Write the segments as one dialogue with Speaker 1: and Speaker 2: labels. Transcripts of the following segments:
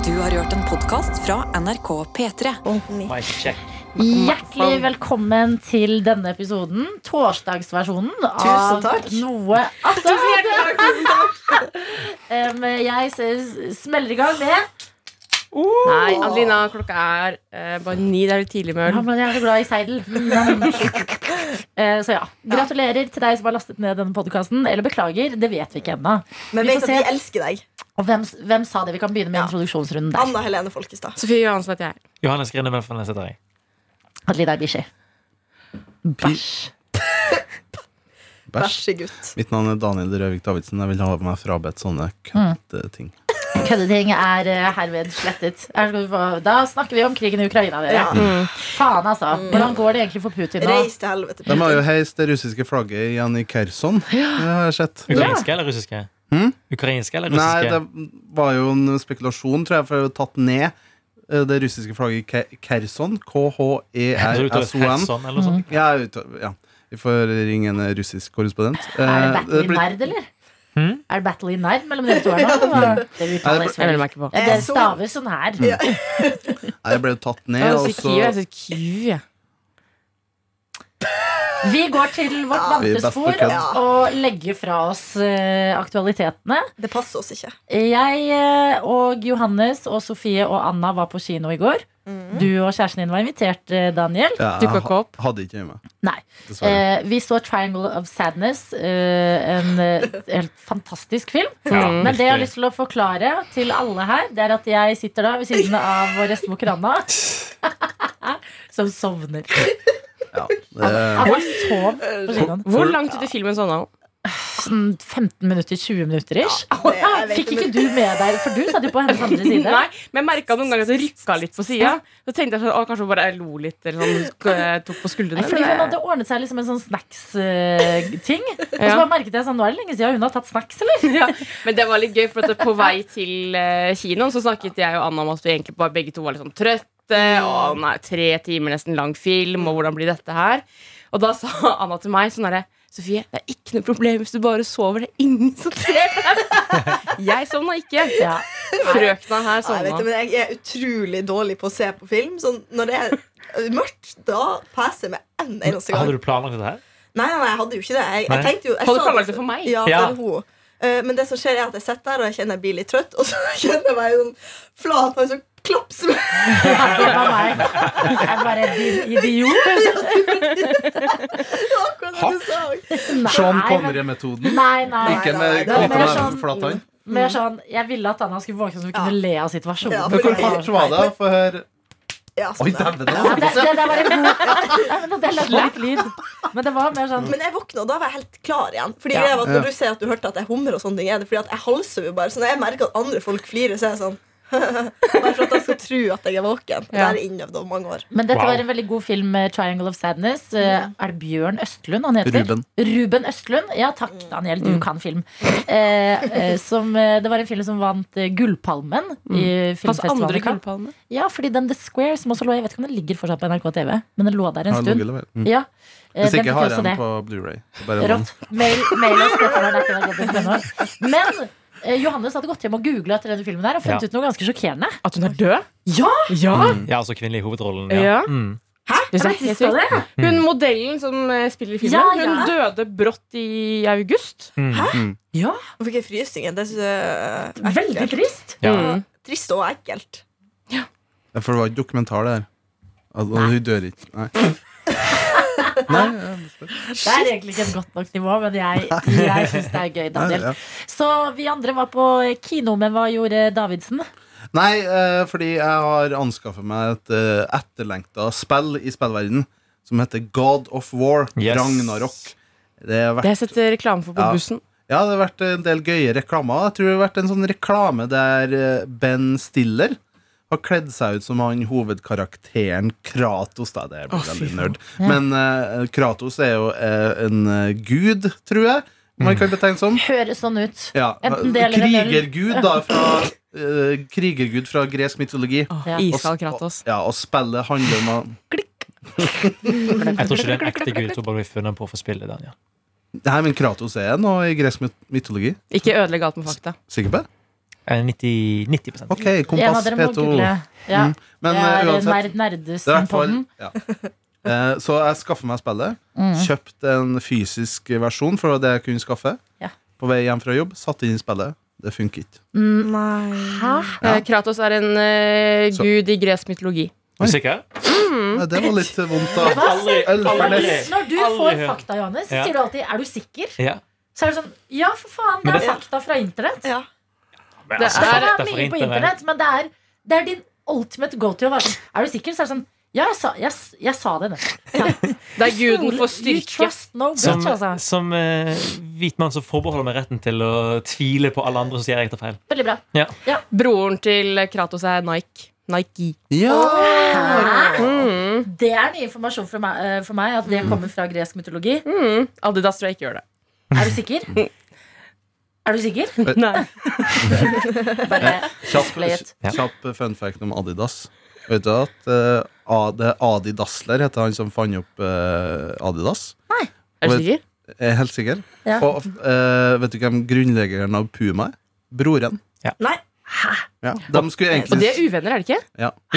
Speaker 1: En podkast fra NRK P3.
Speaker 2: Mic check.
Speaker 3: Hjertelig velkommen til denne episoden. Torsdagsversjonen av
Speaker 4: Tusen takk.
Speaker 3: Noe attåt. Em, jeg s- smeller i gang med
Speaker 4: Nei, Adelina, klokka er eh, bare ni. Det er litt tidlig med
Speaker 3: ja,
Speaker 4: øl.
Speaker 3: men Jeg er så glad i seidel. Eh, Så ja. Gratulerer til deg som har lastet ned denne podkasten. Eller beklager, det vet vi ikke ennå.
Speaker 5: Men
Speaker 3: Vi
Speaker 5: vet
Speaker 3: får
Speaker 5: at
Speaker 3: se.
Speaker 5: vi elsker deg.
Speaker 3: Og hvem, s- hvem sa det? Vi kan begynne med
Speaker 5: Ja.
Speaker 3: introduksjonsrunden der.
Speaker 5: Anna Helene Folkestad.
Speaker 4: Sofie Johansen heter jeg.
Speaker 2: Johannes Grine Melfarnes heter jeg.
Speaker 3: Adelina Ibishi. Bæsj.
Speaker 5: Vær
Speaker 6: Bæsj.
Speaker 5: så gutt.
Speaker 6: Mitt navn er Daniel Røvik Davidsen. Jeg vil ha meg frabedt sånne køddeting.
Speaker 3: Køddeting er eh, herved slettet. Her skal du få- Da snakker vi om krigen i Ukraina, dere.
Speaker 5: Ja.
Speaker 4: Mm.
Speaker 5: Mm.
Speaker 3: Faen, altså. Hvordan går det egentlig for Putin nå?
Speaker 5: Reis til helvete.
Speaker 6: De har jo
Speaker 5: Putin.
Speaker 6: heist det russiske flagget igjen i Kherson. Det har jeg sett. Det,
Speaker 2: Ukrainske eller russiske?
Speaker 6: Hm?
Speaker 2: Ukrainske eller
Speaker 6: nei,
Speaker 2: russiske?
Speaker 6: det var jo en spekulasjon, tror jeg, for det var tatt ned eh, det russiske flagget i Ke- Kherson. E
Speaker 2: Så Altså, utover
Speaker 6: K-H-E-R-S-O-N.
Speaker 2: Kherson eller noe sånt?
Speaker 6: Ja, ut- ja. Vi får ringe en russisk korrespondent.
Speaker 3: Er det
Speaker 6: Eh,
Speaker 3: battle i
Speaker 6: blir- Hmm?
Speaker 3: nerd, eller?
Speaker 2: Hm?
Speaker 3: Er det battle i nerd mellom dere to her nå? Det uttales
Speaker 4: Jeg melder
Speaker 3: vel.
Speaker 4: meg ikke på.
Speaker 3: Ja, Dere staver sånn her.
Speaker 5: Eh, Ja.
Speaker 6: Nei, det ble jo tatt ned.
Speaker 4: Jeg
Speaker 6: og
Speaker 4: sier Kyiv, jeg
Speaker 6: så-
Speaker 4: sier Kyiv, jeg.
Speaker 3: Vi går til vårt
Speaker 5: Ja.
Speaker 3: vante
Speaker 6: Best på
Speaker 3: spor
Speaker 6: kødd.
Speaker 3: og legger fra oss eh, aktualitetene.
Speaker 5: Det passer oss ikke.
Speaker 3: Jeg eh, og Johannes og Sofie og Anna var på kino i går.
Speaker 5: Mhm.
Speaker 3: Du og kjæresten din var invitert, eh, Daniel.
Speaker 6: Ja,
Speaker 4: Dukket
Speaker 6: jeg
Speaker 4: ikke opp.
Speaker 6: ha- hadde ikke med meg.
Speaker 3: Nei.
Speaker 6: Dessverre.
Speaker 3: Eh, vi så 'Triangle of Sadness', eh, en eh, helt fantastisk film.
Speaker 2: Ja,
Speaker 3: Mm. Men det jeg har
Speaker 2: virkelig.
Speaker 3: lyst til å forklare til alle her, det er at jeg sitter da ved siden av vår bestemor Anna, som sovner.
Speaker 6: Ja, det,
Speaker 3: Anna sov på kinoen.
Speaker 4: Hvor langt ut i filmen sovna hun?
Speaker 3: Sånn 15 minutter, 20 minutter ish.
Speaker 5: det- jeg vet
Speaker 3: Fikk
Speaker 5: ikke,
Speaker 3: ikke du med deg, for du satt jo på hennes andre side.
Speaker 4: Nei, men jeg merka noen ganger at det rykka litt på sida. Så tenkte jeg sånn, å, kanskje hun bare lo litt, eller sånn, eh, tok på skuldrene.
Speaker 3: Fordi hun
Speaker 4: men
Speaker 3: hadde
Speaker 4: det-
Speaker 3: ordnet seg liksom en sånn snacks-ting. Og så bare merket jeg sånn, nå er det lenge siden hun har tatt snacks, eller?
Speaker 4: Ja, men det var litt gøy, for at på vei til eh, kinoen så snakket jeg og Anna om at vi egentlig bare begge to var litt sånn trøtte. Og nei, tre timer nesten lang film, og hvordan blir dette her? Og da sa Anna til meg sånn herre Sofie, det er ikke noe problem hvis du bare sover. Det er ingen som ser deg. Jeg sovna ikke.
Speaker 3: Ja.
Speaker 4: Frøkna her
Speaker 5: Nei, jeg vet det,
Speaker 4: sovna.
Speaker 5: men jeg er utrolig dårlig på å se på film. Sånn, når det er mørkt, da passer jeg med en
Speaker 3: sånn
Speaker 5: eneste gang.
Speaker 2: Hadde du planlagt dette her?
Speaker 5: Nei, nei, nei, jeg hadde jo ikke det. Jeg,
Speaker 2: Nei.
Speaker 5: jeg tenkte jo jeg
Speaker 4: Hadde
Speaker 5: sa
Speaker 4: du planlagt det for meg?
Speaker 5: Ja,
Speaker 2: Ja.
Speaker 5: for hun. Eh, men det som skjer, er at jeg sitter der og jeg kjenner jeg blir litt trøtt, og så kjenner jeg meg sånn flat og så klapser meg.
Speaker 3: Det var meg. Jeg bare, din idiot.
Speaker 5: Det var akkurat det du sa.
Speaker 3: Nei,
Speaker 6: Sean
Speaker 3: men-
Speaker 6: Connery-metoden.
Speaker 3: Nei, nei.
Speaker 6: Ikke med
Speaker 5: nei, nei,
Speaker 6: knytta
Speaker 5: det er
Speaker 6: neven
Speaker 3: sånn-
Speaker 6: på flathånd.
Speaker 3: Mer sånn, jeg ville at Anna skulle våkne så vi
Speaker 5: Ja.
Speaker 3: kunne le av situasjonen.
Speaker 5: Ja,
Speaker 6: Men hvor
Speaker 5: fordi-
Speaker 6: kort var det? Få høre.
Speaker 5: Ja,
Speaker 6: Oi,
Speaker 5: sånn der.
Speaker 6: dæven! det
Speaker 3: Ja,
Speaker 6: var
Speaker 3: det,
Speaker 6: såpass,
Speaker 3: det,
Speaker 6: ja.
Speaker 3: det var en god Nei, men det lagde litt lyd. Men det var mer
Speaker 6: Mm.
Speaker 3: sånn
Speaker 5: Men jeg våkna, og da var jeg helt klar igjen. Fordi
Speaker 3: Ja.
Speaker 5: greia var at
Speaker 6: Ja.
Speaker 5: Når du sier at du hørte at jeg humrer, og sånne ting, er det fordi at jeg halser jo bare. Så når jeg merker at andre folk flirer, så er jeg sånn Bare for at jeg skal tro at jeg er våken. Det
Speaker 4: Ja.
Speaker 5: er innøvd over mange år.
Speaker 3: Men dette
Speaker 2: Wow.
Speaker 3: var en veldig god film, eh, 'Triangle of Sadness'. Eh,
Speaker 5: Mm.
Speaker 3: Er det Bjørn Østlund han heter?
Speaker 6: Ruben. Mm.
Speaker 3: Ruben Østlund. Ja takk,
Speaker 5: Mm.
Speaker 3: Daniel, du kan film. Eh, eh, som, eh, det var en film som vant eh, Gullpalmen
Speaker 6: Mm.
Speaker 3: i
Speaker 4: Hans
Speaker 3: filmfestivalen.
Speaker 4: andre
Speaker 3: i Cannes.
Speaker 4: gullpalme.
Speaker 3: Ja, fordi den The Square, som også lå Jeg vet ikke om den ligger fortsatt på NRK TV, men den lå der en
Speaker 6: Har
Speaker 3: stund.
Speaker 6: ligget der. Mm.
Speaker 3: Ja, eh,
Speaker 6: Hvis
Speaker 3: den
Speaker 6: ikke
Speaker 3: fikk
Speaker 6: har
Speaker 3: også det.
Speaker 6: jeg den på Blu-ray. Bare lån.
Speaker 3: Rått. Mail, mail oss dette var dette var godt å finne. Men eh, Johannes hadde gått hjem og googla etter denne filmen her og funnet
Speaker 2: Ja.
Speaker 3: ut noe ganske sjokkerende.
Speaker 4: At hun er død?
Speaker 3: Ja!
Speaker 4: Ja!
Speaker 6: Mm.
Speaker 2: Ja, altså kvinnelig i hovedrollen.
Speaker 4: Ja.
Speaker 2: Mm.
Speaker 4: Det er
Speaker 3: Jeg
Speaker 4: så
Speaker 3: visste
Speaker 4: helt
Speaker 3: ikke
Speaker 4: sykt.
Speaker 3: det.
Speaker 4: Hun modellen som eh, spiller i filmen,
Speaker 3: Ja,
Speaker 4: hun
Speaker 3: ja.
Speaker 4: døde brått i august.
Speaker 2: Mm.
Speaker 5: Nå fikk jeg frysninger. Det synes jeg er
Speaker 3: Veldig
Speaker 5: ekkelt.
Speaker 3: trist.
Speaker 2: Ja.
Speaker 4: Mm.
Speaker 5: Trist og ekkelt.
Speaker 6: Ja, For det var et dokumentar, det her. At og hun dør ikke. Nei. Nei, ja,
Speaker 3: Det er egentlig ikke et godt nok nivå, men jeg, jeg syns det er gøy,
Speaker 6: nei,
Speaker 3: Daniel.
Speaker 6: ja.
Speaker 3: Så vi andre var på kino, men hva gjorde Davidsen?
Speaker 6: nei eh, fordi jeg har anskaffet meg et eh, etterlengta spill i spillverden som heter God of War.
Speaker 2: Yes.
Speaker 6: Ragnarok. Det har
Speaker 4: Det har
Speaker 6: vært,
Speaker 4: jeg sett eh, reklame for på
Speaker 6: Ja.
Speaker 4: bussen.
Speaker 6: ja, det har vært en del gøye reklamer. Jeg tror det har vært en sånn reklame der eh, Ben Stiller har kledd seg ut som han hovedkarakteren Kratos. Da. Det blir
Speaker 4: Å, fy
Speaker 6: veldig
Speaker 4: faen.
Speaker 6: nerd.
Speaker 3: Ja.
Speaker 6: Men eh, Kratos er jo eh, en eh, gud, tror jeg. Man kan betegne som.
Speaker 3: Høres sånn ut.
Speaker 6: Ja.
Speaker 3: Enten det eller en øl.
Speaker 6: krigergud, da, fra, eh, krigergud fra gresk mytologi.
Speaker 3: Ja.
Speaker 4: Iskald
Speaker 6: Og sp-
Speaker 4: Kratos.
Speaker 6: Ja, og spillet handler om å-
Speaker 2: Jeg tror ikke det er en ekte gud som bare blir funnet på for spillet. Daniel.
Speaker 6: Nei, men Kratos er noe i gresk myt- mytologi.
Speaker 4: Ikke ødelegg alt med fakta.
Speaker 6: Sikker på det?
Speaker 2: Eh, 90, 90
Speaker 6: OK,
Speaker 3: En av
Speaker 6: Kompass
Speaker 3: dere må
Speaker 6: P2.
Speaker 3: google. Ja,
Speaker 6: Mm. Men
Speaker 3: det
Speaker 6: eh,
Speaker 3: er
Speaker 6: uansett
Speaker 3: nerd
Speaker 6: det er i hvert fall-
Speaker 3: nerdesen-podden.
Speaker 6: ja. Eh, Så jeg skaffa meg spillet.
Speaker 3: Mm.
Speaker 6: Kjøpt en fysisk versjon for det jeg kunne skaffe.
Speaker 3: Ja.
Speaker 6: På vei hjem fra jobb, satt inn spillet. Det funker ikke.
Speaker 5: Nei.
Speaker 4: Eh, Kratos er en eh,
Speaker 6: Så-
Speaker 4: gud i gresk mytologi.
Speaker 2: Er du sikker?
Speaker 6: Ja, det var litt vondt, da.
Speaker 2: Aldri,
Speaker 6: Ølfernes.
Speaker 3: Når du
Speaker 2: Aldri
Speaker 3: får
Speaker 2: hørt.
Speaker 3: fakta, Johannes, så
Speaker 2: Ja.
Speaker 3: sier du alltid 'er du sikker'?
Speaker 2: Ja.
Speaker 3: Så er det sånn Ja, for faen, det
Speaker 2: Men
Speaker 3: er
Speaker 5: det-
Speaker 3: fakta fra internett.
Speaker 5: Ja.
Speaker 2: Men
Speaker 4: Det
Speaker 2: altså,
Speaker 4: er-
Speaker 3: Det
Speaker 2: fakta
Speaker 3: er
Speaker 2: for
Speaker 3: mye på
Speaker 2: internett.
Speaker 3: internett, men det er, det er din ultimate go to å være sånn Er du sikker? Så er det sånn Ja, jeg sa, jeg, s- jeg sa det nettopp.
Speaker 4: Det er guden for
Speaker 3: Stol- You
Speaker 4: styrke.
Speaker 3: trust no
Speaker 2: Som,
Speaker 3: bitch, altså.
Speaker 2: som eh, hvit mann så forbeholder meg retten til å tvile på alle andre som sier jeg tar feil.
Speaker 3: Veldig bra.
Speaker 4: Broren til eh, Kratos er Nike. Nike.
Speaker 6: Ja!
Speaker 4: Mm.
Speaker 3: Ah, Det er ny informasjon for meg, eh, for meg at det kommer fra gresk mytologi.
Speaker 4: Mm. Adidas tror jeg ikke gjør det.
Speaker 3: Er du sikker? Er du sikker?
Speaker 4: Nei.
Speaker 3: Bare
Speaker 6: Kjapp,
Speaker 3: play it.
Speaker 6: kjapp fun fact om Adidas. Vet du at eh, Ad- Adi Dassler heter han som fant opp eh, Adidas?
Speaker 4: Er du sikker?
Speaker 6: Jeg er helt sikker.
Speaker 3: Ja.
Speaker 6: Og eh, vet du hvem grunnleggeren av Puma er? Broren.
Speaker 5: Nei.
Speaker 6: Ja. De skulle
Speaker 4: Og de er
Speaker 6: egentlig
Speaker 4: uvenner, er det ikke?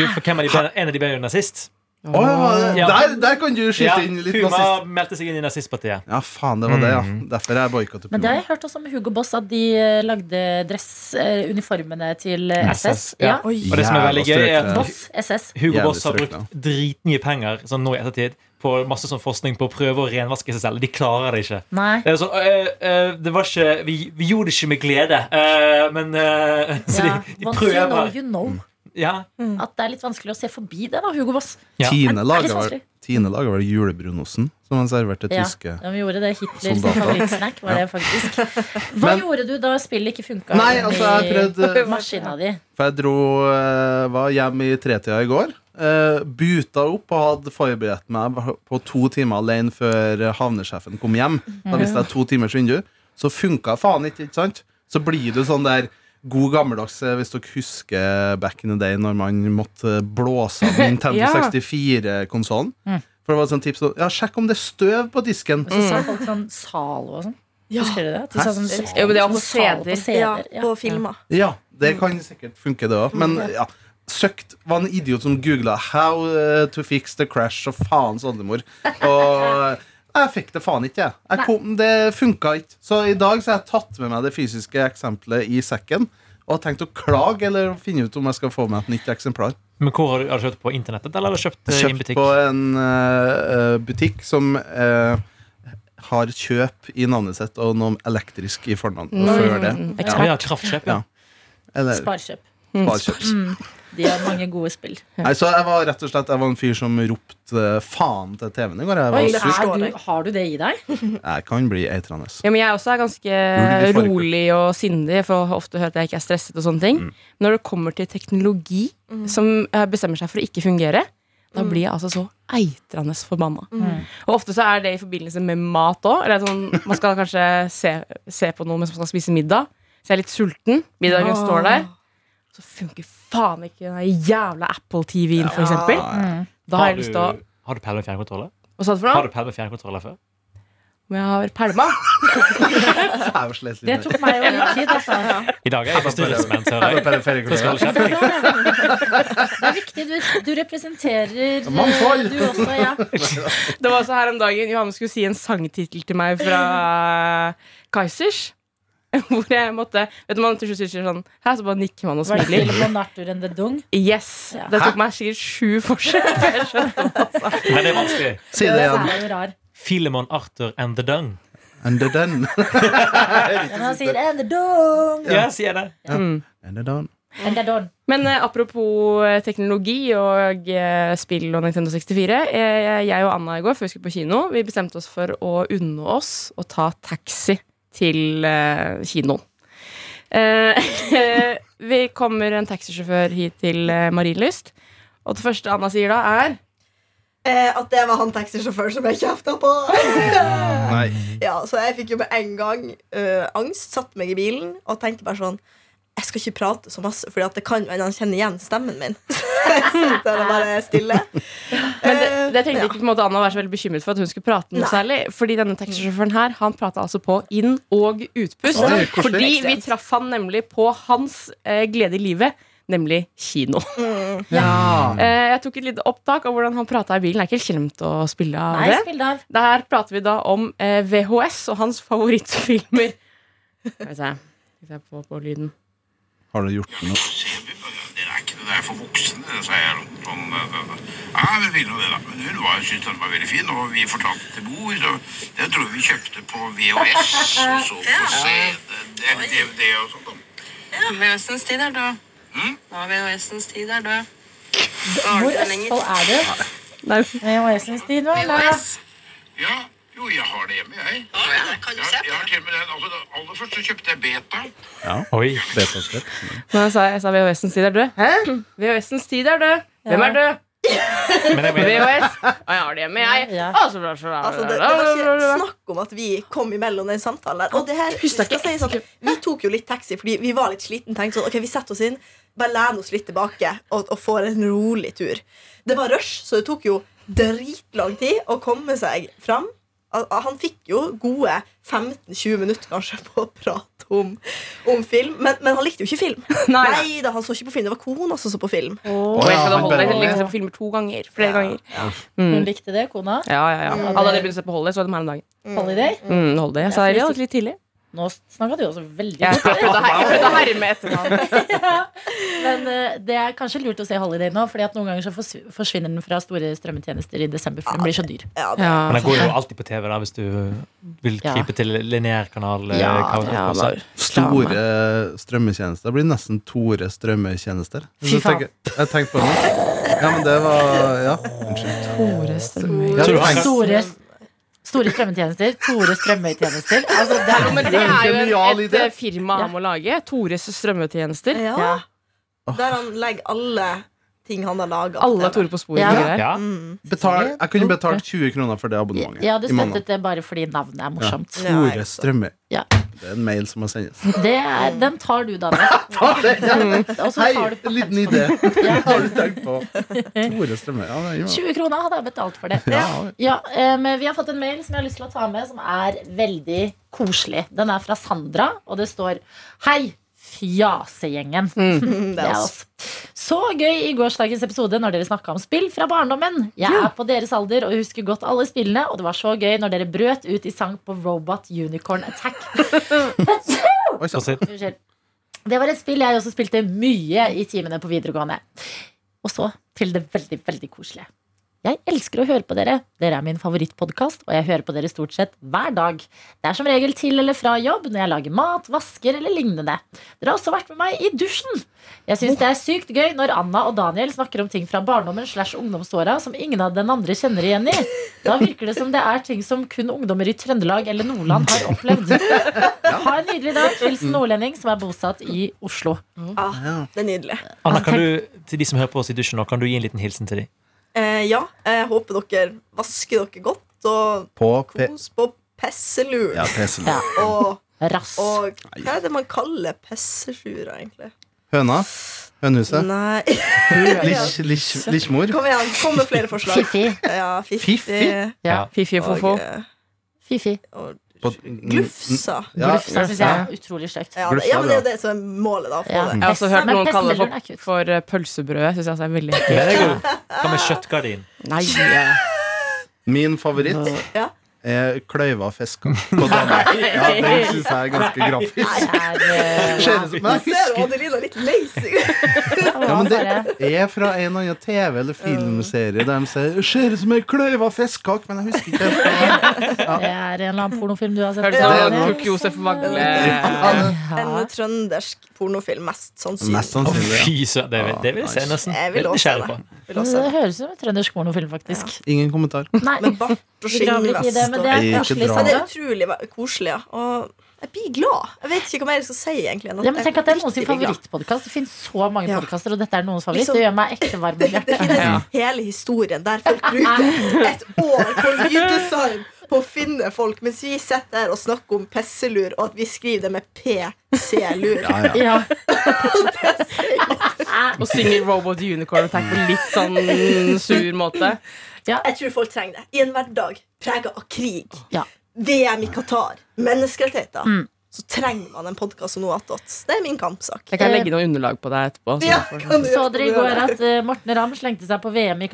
Speaker 2: Jo, for hvem er de, ble- en av de ble jo nazist.
Speaker 6: Å, ja,
Speaker 2: Ja.
Speaker 6: der, der kan du skyte
Speaker 2: Ja,
Speaker 6: inn litt
Speaker 2: Puma
Speaker 6: nazist.
Speaker 2: meldte seg inn i nazistpartiet.
Speaker 6: Ja, faen, det var det, ja. Derfor jeg boikotter
Speaker 3: Men det
Speaker 6: Puma.
Speaker 3: har jeg hørt også om Hugo Boss, at de eh, lagde dress, eh, uniformene til eh, SS.
Speaker 2: SS, ja.
Speaker 3: Ja.
Speaker 5: Oi.
Speaker 2: Og det som er veldig
Speaker 6: Jævla
Speaker 2: gøy, er at
Speaker 3: Boss, SS.
Speaker 2: Hugo
Speaker 6: Jævlig
Speaker 2: Boss har
Speaker 6: strøkne.
Speaker 2: brukt dritmye penger sånn nå i ettertid på masse sånn forskning på å prøve å renvaske seg selv. De klarer det ikke.
Speaker 3: Nei.
Speaker 2: Det, er sånn, øh, øh, det var ikke vi, vi gjorde det ikke med glede, øh, men øh, Så
Speaker 3: Ja.
Speaker 2: de, de
Speaker 3: Once you know,
Speaker 2: prøver.
Speaker 3: you know.
Speaker 2: Ja.
Speaker 3: At det er litt vanskelig å se forbi det, da, Hugo Boss.
Speaker 2: Ja.
Speaker 3: Er- er
Speaker 6: Tine
Speaker 3: det
Speaker 6: laga vel
Speaker 3: vanskelig?
Speaker 6: Tine laget vel julebrunosten, som han serverte til
Speaker 3: Ja.
Speaker 6: tyske.
Speaker 3: Ja, vi gjorde det. Hitler sin
Speaker 6: Soldater.
Speaker 3: favorittsnack var det faktisk. Hva
Speaker 6: Men-
Speaker 3: gjorde du da spillet ikke funka?
Speaker 6: Nei, altså, jeg prøvde
Speaker 3: Maskina di.
Speaker 6: For jeg dro, eh, var hjemme i tretida i går. eh, buta opp og hadde forberedt meg på to timer alene før eh, havnesjefen kom hjem. Da visste jeg to timers vindu. Så funka faen ikke, ikke sant? Så blir du sånn der god gammeldags eh, Hvis dere husker back in the day når man måtte eh, blåse av Nintendo
Speaker 4: Ja.
Speaker 6: 64-konsollen. For det var et sånt tips sånn, Ja, sjekk om det er støv på disken.
Speaker 3: Og så sa folk sånn Zalo og sånn.
Speaker 5: Ja.
Speaker 3: Husker du det? At De sa sånn,
Speaker 4: Jo, men det var på
Speaker 3: Zalo
Speaker 4: CD-er.
Speaker 5: Ja,
Speaker 3: CD-er, ja.
Speaker 5: på filmer.
Speaker 6: Ja, det kan sikkert funke det òg. Men ja, søkt var en idiot som googla 'How eh, to fix the crash' og faens oldemor. Og eh, jeg fikk det faen ikke, jeg. jeg kom, det funka ikke. Så i dag så har jeg tatt med meg det fysiske eksempelet i sekken. Og har tenkt å klage eller finne ut om jeg skal få meg et nytt eksemplar.
Speaker 2: Men hvor har du, har du kjøpt på internettet, eller har du kjøpt, eh, i en
Speaker 6: Kjøpt
Speaker 2: butikk?
Speaker 6: på en eh, eh, butikk som eh, har kjøp i navnet sitt og noe elektrisk i fornavnet før det.
Speaker 2: Ja, ja, kraftkjøp, ja.
Speaker 6: Ja. Eller
Speaker 3: Sparkjøp.
Speaker 6: sparkjøps.
Speaker 3: De har mange gode spill.
Speaker 6: Nei, så jeg var rett og slett Jeg var en fyr som ropte eh, faen til TV-en i går.
Speaker 3: Oi,
Speaker 6: Jeg, var,
Speaker 5: det
Speaker 3: er
Speaker 5: forstår
Speaker 3: du,
Speaker 5: jeg.
Speaker 3: har du det i deg?
Speaker 6: jeg kan bli eitrende.
Speaker 4: Ja, men jeg også er ganske
Speaker 6: Rolig forkant.
Speaker 4: rolig og sindig, for ofte hører jeg at jeg ikke er stresset. og sånne ting
Speaker 2: Mm.
Speaker 4: Men Når det kommer til teknologi som eh, bestemmer seg for å ikke fungere, da blir jeg altså så eitrende forbanna. Og ofte så er det i forbindelse med mat òg. Sånn, man skal kanskje se, se på noe mens man skal spise middag. Så jeg er litt sulten. Middagen står der. Så funker faen ikke den der jævla Apple TV-en, for eksempel.
Speaker 3: Mm.
Speaker 4: Da har
Speaker 2: Har
Speaker 4: jeg
Speaker 2: du,
Speaker 4: lyst til å
Speaker 2: har du pæl med fjernkontroller?
Speaker 4: Hva sa du for
Speaker 2: Har
Speaker 4: noe?
Speaker 2: du pæl med fjernkontroller før?
Speaker 4: Om jeg har pælma?
Speaker 6: Jeg er jo slett
Speaker 3: Det
Speaker 6: litt
Speaker 3: tok meg jo litt tid, altså.
Speaker 2: I dag er jeg forstyrrelsesmenn, hører jeg. Så skal du
Speaker 6: mer.
Speaker 2: kjefte.
Speaker 3: Det er viktig. Du, du representerer eh,
Speaker 6: Mangfold.
Speaker 3: du også, ja.
Speaker 4: Det var så her om dagen Johanne skulle si en sangtittel til meg fra eh, Kaizers. Hvor jeg måtte Vet du, man til slutt sier sånn Her så bare nikker man og
Speaker 3: Var det
Speaker 4: smiler.
Speaker 3: til og med Nartur and the Dung?
Speaker 4: Yes!
Speaker 3: Ja.
Speaker 4: Det tok meg sikkert sju forsøk før jeg skjønte det. Altså.
Speaker 2: Men det er vanskelig.
Speaker 6: Si det
Speaker 3: Den
Speaker 6: igjen.
Speaker 3: er jo rar.
Speaker 2: Filemon Arthur and the Dung.
Speaker 6: Under den.
Speaker 3: Ja, men han sier and the Dung!
Speaker 2: Ja, sier det.
Speaker 4: Mm.
Speaker 6: Under den.
Speaker 3: And the Dung.
Speaker 4: Men eh, apropos eh, teknologi og eh, spill og Nintendo 64. Eh, jeg og Anna i går, før vi skulle på kino, vi bestemte oss for å unne oss å ta taxi til eh, kinoen. Eh, vi kommer en taxisjåfør hit til eh, Marienlyst, og det første Anna sier da, er
Speaker 5: Eh, at det var han taxisjåføren som jeg kjefta på.
Speaker 6: Nei.
Speaker 5: øh, ja, så jeg fikk jo med en gang eh, angst, satte meg i bilen og tenkte bare sånn jeg skal ikke prate så masse, for det kan jo hende han kjenner igjen stemmen min. Så da er det bare stille.
Speaker 4: Men det, det tenkte
Speaker 5: Ja.
Speaker 4: ikke på en måte Anna var så veldig bekymret for at hun skulle prate noe
Speaker 5: Nei.
Speaker 4: særlig. Fordi denne taxisjåføren her, han prata altså på inn- og utpust.
Speaker 6: Oi, koselig.
Speaker 4: fordi vi traff han nemlig på hans eh, glede i livet, nemlig kino.
Speaker 6: Ja.
Speaker 4: Eh, jeg tok et lite opptak av hvordan han prata i bilen. Det er ikke slemt å spille av
Speaker 3: Nei,
Speaker 4: det.
Speaker 3: spill det av.
Speaker 4: Der prater vi da om eh, VHS og hans favorittfilmer. Skal vi se. Skal vi se på, på lyden.
Speaker 6: Har du gjort noe?
Speaker 7: Dere er ikke det der for voksne, sa jeg. Sånn, eh, ja, vi ville jo det, da. Men hun var, syntes den var veldig fin, og vi fortalte til mor. Så jeg tror vi kjøpte på VHS og så på CD, eller DVD og sånt. sånn, da.
Speaker 8: Ja, VHS-ens tid er død. Ja, VHS-ens tid er død.
Speaker 3: Hvor Østfold er du?
Speaker 4: Nei,
Speaker 3: VHS-ens tid, hva?
Speaker 8: VHS.
Speaker 7: Ja, jo, jeg har det hjemme, jeg.
Speaker 8: Å ja, kan du
Speaker 7: Jeg,
Speaker 8: se
Speaker 7: jeg har til og med den, altså, da- Aller først så kjøpte jeg Beta.
Speaker 2: Oi.
Speaker 6: Betaskritt?
Speaker 4: Nå sa jeg, jeg sa VHS-ens tid er død. Hæ? VHS-ens tid er død. Hvem er død?
Speaker 2: Men jeg mener,
Speaker 4: VHS. Å, jeg har det hjemme, jeg.
Speaker 3: Ja.
Speaker 4: Altså, bla, bla, bla,
Speaker 5: Altså, det, det
Speaker 4: bla,
Speaker 5: var
Speaker 4: bla,
Speaker 5: ikke
Speaker 4: bla, bla.
Speaker 5: snakk om at vi kom imellom den samtalen der. Og det her,
Speaker 4: Husker
Speaker 5: skal
Speaker 4: ikke
Speaker 5: sies at vi tok jo litt taxi fordi vi var litt sliten Tenkte sånn, ok, vi setter oss inn, bare lener oss litt tilbake og, og får en rolig tur. Det var rush, så det tok jo dritlang tid å komme seg fram. Al- al- Han fikk jo gode 15-20 minutter kanskje på å prate om, om film, men, men han likte jo ikke film.
Speaker 4: Nei.
Speaker 5: Nei da, han så ikke på film. Det var kona som så på film.
Speaker 4: Og jeg skal da
Speaker 6: han
Speaker 4: holde
Speaker 6: bare-
Speaker 4: jeg likte å se på filmer to ganger. Flere ganger.
Speaker 3: Hun likte det, kona.
Speaker 4: Ja, ja, ja. Alle hadde begynt å se på Holiday, så var det meg om dagen.
Speaker 3: Holiday.
Speaker 4: Mm, Holiday. Jeg sa
Speaker 3: Jeg
Speaker 4: det
Speaker 3: synes
Speaker 4: var litt tidlig.
Speaker 3: Nå snakka du også veldig
Speaker 4: Jeg
Speaker 3: godt.
Speaker 4: prøvde å her- jeg prøvde å herme etter ham.
Speaker 3: Men eh, det er kanskje lurt å se Holiday nå, Fordi at noen ganger så forsv- forsvinner den fra store strømmetjenester i desember, for den blir så dyr.
Speaker 5: Ja, det,
Speaker 4: Ja.
Speaker 2: men den går jo alltid på TV da, hvis du vil
Speaker 3: Ja.
Speaker 2: krype til lineærkanal. eh,
Speaker 4: Ja,
Speaker 2: kabel-
Speaker 4: ja,
Speaker 2: også.
Speaker 4: da.
Speaker 6: Store strømmetjenester. Det blir nesten Tore strømmetjenester.
Speaker 3: Fy faen.
Speaker 6: Jeg, jeg tenkte på det. Ja, men det var Ja.
Speaker 4: Tore Strømøy.
Speaker 6: Jeg hadde tenkt-
Speaker 3: Store, store strømmetjenester. Tore strømmetjenester. Altså, det er,
Speaker 4: Men det er jo en,
Speaker 6: Genial
Speaker 4: et
Speaker 6: idé.
Speaker 4: eh, firma han må lage. Tores strømmetjenester.
Speaker 5: Ja.
Speaker 3: Ja.
Speaker 5: Der han legger alle ting han har laga.
Speaker 4: Alle Tore på sporet.
Speaker 3: Ja.
Speaker 4: greier.
Speaker 2: Ja.
Speaker 6: Betal, jeg kunne betalt 20 kroner for det abonnementet.
Speaker 3: jeg hadde
Speaker 6: i måneden.
Speaker 3: støttet det bare fordi navnet er morsomt.
Speaker 6: Tore Strømøy.
Speaker 3: Ja.
Speaker 6: Det er en mail som må sendes.
Speaker 3: Det er, den tar du, Daniel. Mm. Og så
Speaker 6: Hei,
Speaker 3: tar du
Speaker 6: en liten idé.
Speaker 3: Ja.
Speaker 6: Har du tenkt på Tore Strømøy? Ja, det er jo
Speaker 3: 20 kroner hadde jeg betalt for det.
Speaker 6: Ja.
Speaker 3: Ja, eh, men Vi har fått en mail som jeg har lyst til å ta med, som er veldig koselig. Den er fra Sandra, og det står Hei, fjasegjengen. Mm, Det er oss. Så gøy i gårsdagens episode når dere snakka om spill fra barndommen. Jeg er på deres alder og husker godt alle spillene, og det var så gøy når dere brøt ut i sang på Robot Unicorn Attack.
Speaker 6: Oi,
Speaker 2: Så
Speaker 6: sant.
Speaker 2: sitt-
Speaker 3: Unnskyld. Det var et spill jeg også spilte mye i timene på videregående. Og så til det veldig, veldig koselige. Jeg elsker å høre på dere. Dere er min favorittpodkast, og jeg hører på dere stort sett hver dag. Det er som regel til eller fra jobb, når jeg lager mat, vasker eller lignende. Dere har også vært med meg i dusjen. Jeg syns det er sykt gøy når Anna og Daniel snakker om ting fra barndommen slash ungdomsåra som ingen av den andre kjenner igjen i. Da virker det som det er ting som kun ungdommer i Trøndelag eller Nordland har opplevd. Ha en nydelig dag. Hilsen nordlending som er bosatt i Oslo.
Speaker 5: Ah, det er nydelig.
Speaker 2: Anna, kan du, til de som hører på oss i dusjen nå, kan du gi en liten hilsen til dem?
Speaker 5: Eh, ja, jeg håper dere vasker dere godt og
Speaker 6: På P...
Speaker 5: kos på pesselur.
Speaker 6: Ja, PC.
Speaker 3: Ja.
Speaker 5: Og,
Speaker 3: Rass.
Speaker 5: og hva er det man kaller pesselura, egentlig?
Speaker 6: Høna? Hønehuset?
Speaker 5: Nei
Speaker 6: Lich- lich- Lichmor?
Speaker 5: Kom igjen, kom med flere forslag.
Speaker 3: Fifi.
Speaker 5: Ja, fiffi.
Speaker 6: Fiffi?
Speaker 2: Ja.
Speaker 4: Fifi og
Speaker 5: Og,
Speaker 4: fofo.
Speaker 5: eh,
Speaker 3: Fifi.
Speaker 5: og
Speaker 6: På-
Speaker 5: glufsa.
Speaker 6: Ja,
Speaker 3: Glufsa syns jeg er utrolig stygt.
Speaker 5: Ja, det, ja, men det er jo det som er målet, da. å få
Speaker 3: Ja.
Speaker 5: det.
Speaker 4: Jeg har også hørt
Speaker 3: Men
Speaker 4: noen kalle det
Speaker 3: bestselgeren er
Speaker 4: for,
Speaker 3: kutt.
Speaker 4: for eh, pølsebrød. Synes jeg altså er veldig
Speaker 2: Den er god. Hva med kjøttgardin?
Speaker 4: Nei, ja.
Speaker 6: Min favoritt
Speaker 5: Ja.
Speaker 6: er kløyva fisker på Danmark. Ja, den syns jeg er ganske grafisk.
Speaker 3: Det er, eh,
Speaker 6: Ser det som- Men jeg
Speaker 5: Ser du
Speaker 6: husker
Speaker 5: Adelina litt lei seg ut?
Speaker 6: ja, men det er fra en eller annen TV- eller filmserie der de sier 'Ser ut som ei kløyva fiskekake', men jeg husker ikke. helt hva det var.
Speaker 3: det er en eller annen pornofilm du har sett.
Speaker 4: Hørte
Speaker 6: Ja,
Speaker 4: du
Speaker 6: det er
Speaker 4: det?
Speaker 6: nok.
Speaker 4: Tok Josef Vagle
Speaker 6: Ja,
Speaker 5: eh,
Speaker 6: det-
Speaker 5: En trøndersk pornofilm, mest sannsynlig.
Speaker 6: Mest sannsynlig. ja.
Speaker 2: Fy søren, det, vil- det vil jeg se nesten.
Speaker 5: Jeg vil
Speaker 2: Litt
Speaker 5: også se det.
Speaker 2: nysgjerrig på.
Speaker 5: Vil også
Speaker 3: Det
Speaker 5: se det.
Speaker 3: høres ut som en trøndersk pornofilm, faktisk.
Speaker 6: Ingen kommentar.
Speaker 3: Nei,
Speaker 5: Med bart og
Speaker 3: vi graver ikke i det,
Speaker 5: skinnvest. og- sånn.
Speaker 3: men det er
Speaker 6: Ikke
Speaker 3: koselig.
Speaker 6: dra.
Speaker 5: Ja, det er
Speaker 3: Sandra.
Speaker 5: utrolig va- koselig. Ja. Og jeg blir glad. Jeg vet ikke hva mer jeg skal si. egentlig enn
Speaker 3: Ja, men tenk at Det er noen sin
Speaker 5: jeg blir glad.
Speaker 3: favorittpodkast. Det finnes så mange
Speaker 5: Ja.
Speaker 3: podkaster, og dette er noens favoritt.
Speaker 5: Liksom-
Speaker 3: Det gjør meg ekte varm om
Speaker 5: Det
Speaker 3: hjertet.
Speaker 5: finnes hele historien der folk bruker et år på lyddesign på å finne folk, mens vi sitter der og snakker om pisselur, og at vi skriver det med PC-lur.
Speaker 6: Ja, ja.
Speaker 3: Ja.
Speaker 4: Og synger Robot Unicorn Attack på litt sånn sur måte.
Speaker 5: Jeg tror folk trenger det. I en hverdag prega av krig,
Speaker 3: Ja.
Speaker 5: VM i Qatar, menneskerettigheter,
Speaker 3: Mm.
Speaker 5: så trenger man en podkast som noe attåt. Det er min kampsak.
Speaker 4: Jeg kan legge noe underlag på deg etterpå. så
Speaker 5: Ja,
Speaker 4: du får-
Speaker 5: kan du
Speaker 3: Så
Speaker 5: gjøre
Speaker 3: dere i
Speaker 5: det?
Speaker 3: går at eh, Morten Ramm slengte seg på VM i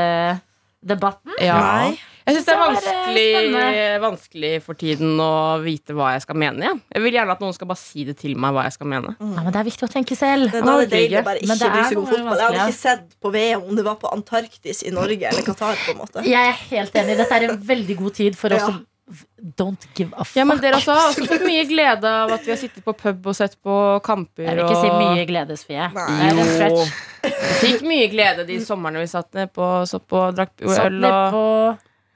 Speaker 3: eh, Qatar-debatten?
Speaker 4: Ja.
Speaker 5: Nei.
Speaker 4: Jeg syns det eh,
Speaker 3: Så er
Speaker 4: er
Speaker 3: det
Speaker 4: vanskelig,
Speaker 3: spennende.
Speaker 4: vanskelig for tiden å vite hva jeg skal mene. Jeg. jeg vil gjerne at noen skal bare si det til meg hva jeg skal mene.
Speaker 3: Ja, men det er viktig å tenke selv.
Speaker 5: Mm. Det er da det er deilig å
Speaker 4: Norge.
Speaker 5: bare
Speaker 3: Men
Speaker 5: ikke
Speaker 3: det
Speaker 5: bry
Speaker 3: er
Speaker 5: seg om
Speaker 3: noe
Speaker 5: fotball. Jeg hadde
Speaker 3: vanskelig.
Speaker 5: ikke sett på VM om det var på Antarktis i Norge eller Qatar. på en måte
Speaker 3: Jeg er helt enig. Dette er en veldig god tid for oss
Speaker 5: Ja.
Speaker 3: som Don't give a fuck.
Speaker 4: Ja, men Dere også har også fått mye glede av at vi har sittet på pub og sett på kamper.
Speaker 3: Jeg vil ikke si
Speaker 4: og-
Speaker 3: mye glede, Sofie. Det
Speaker 5: Nei.
Speaker 3: er en
Speaker 4: Jo.
Speaker 3: stretch.
Speaker 4: Vi fikk mye glede de somrene vi satt ned på, så på og drakk
Speaker 3: Satt
Speaker 4: øl.
Speaker 3: ned
Speaker 4: Og...
Speaker 3: på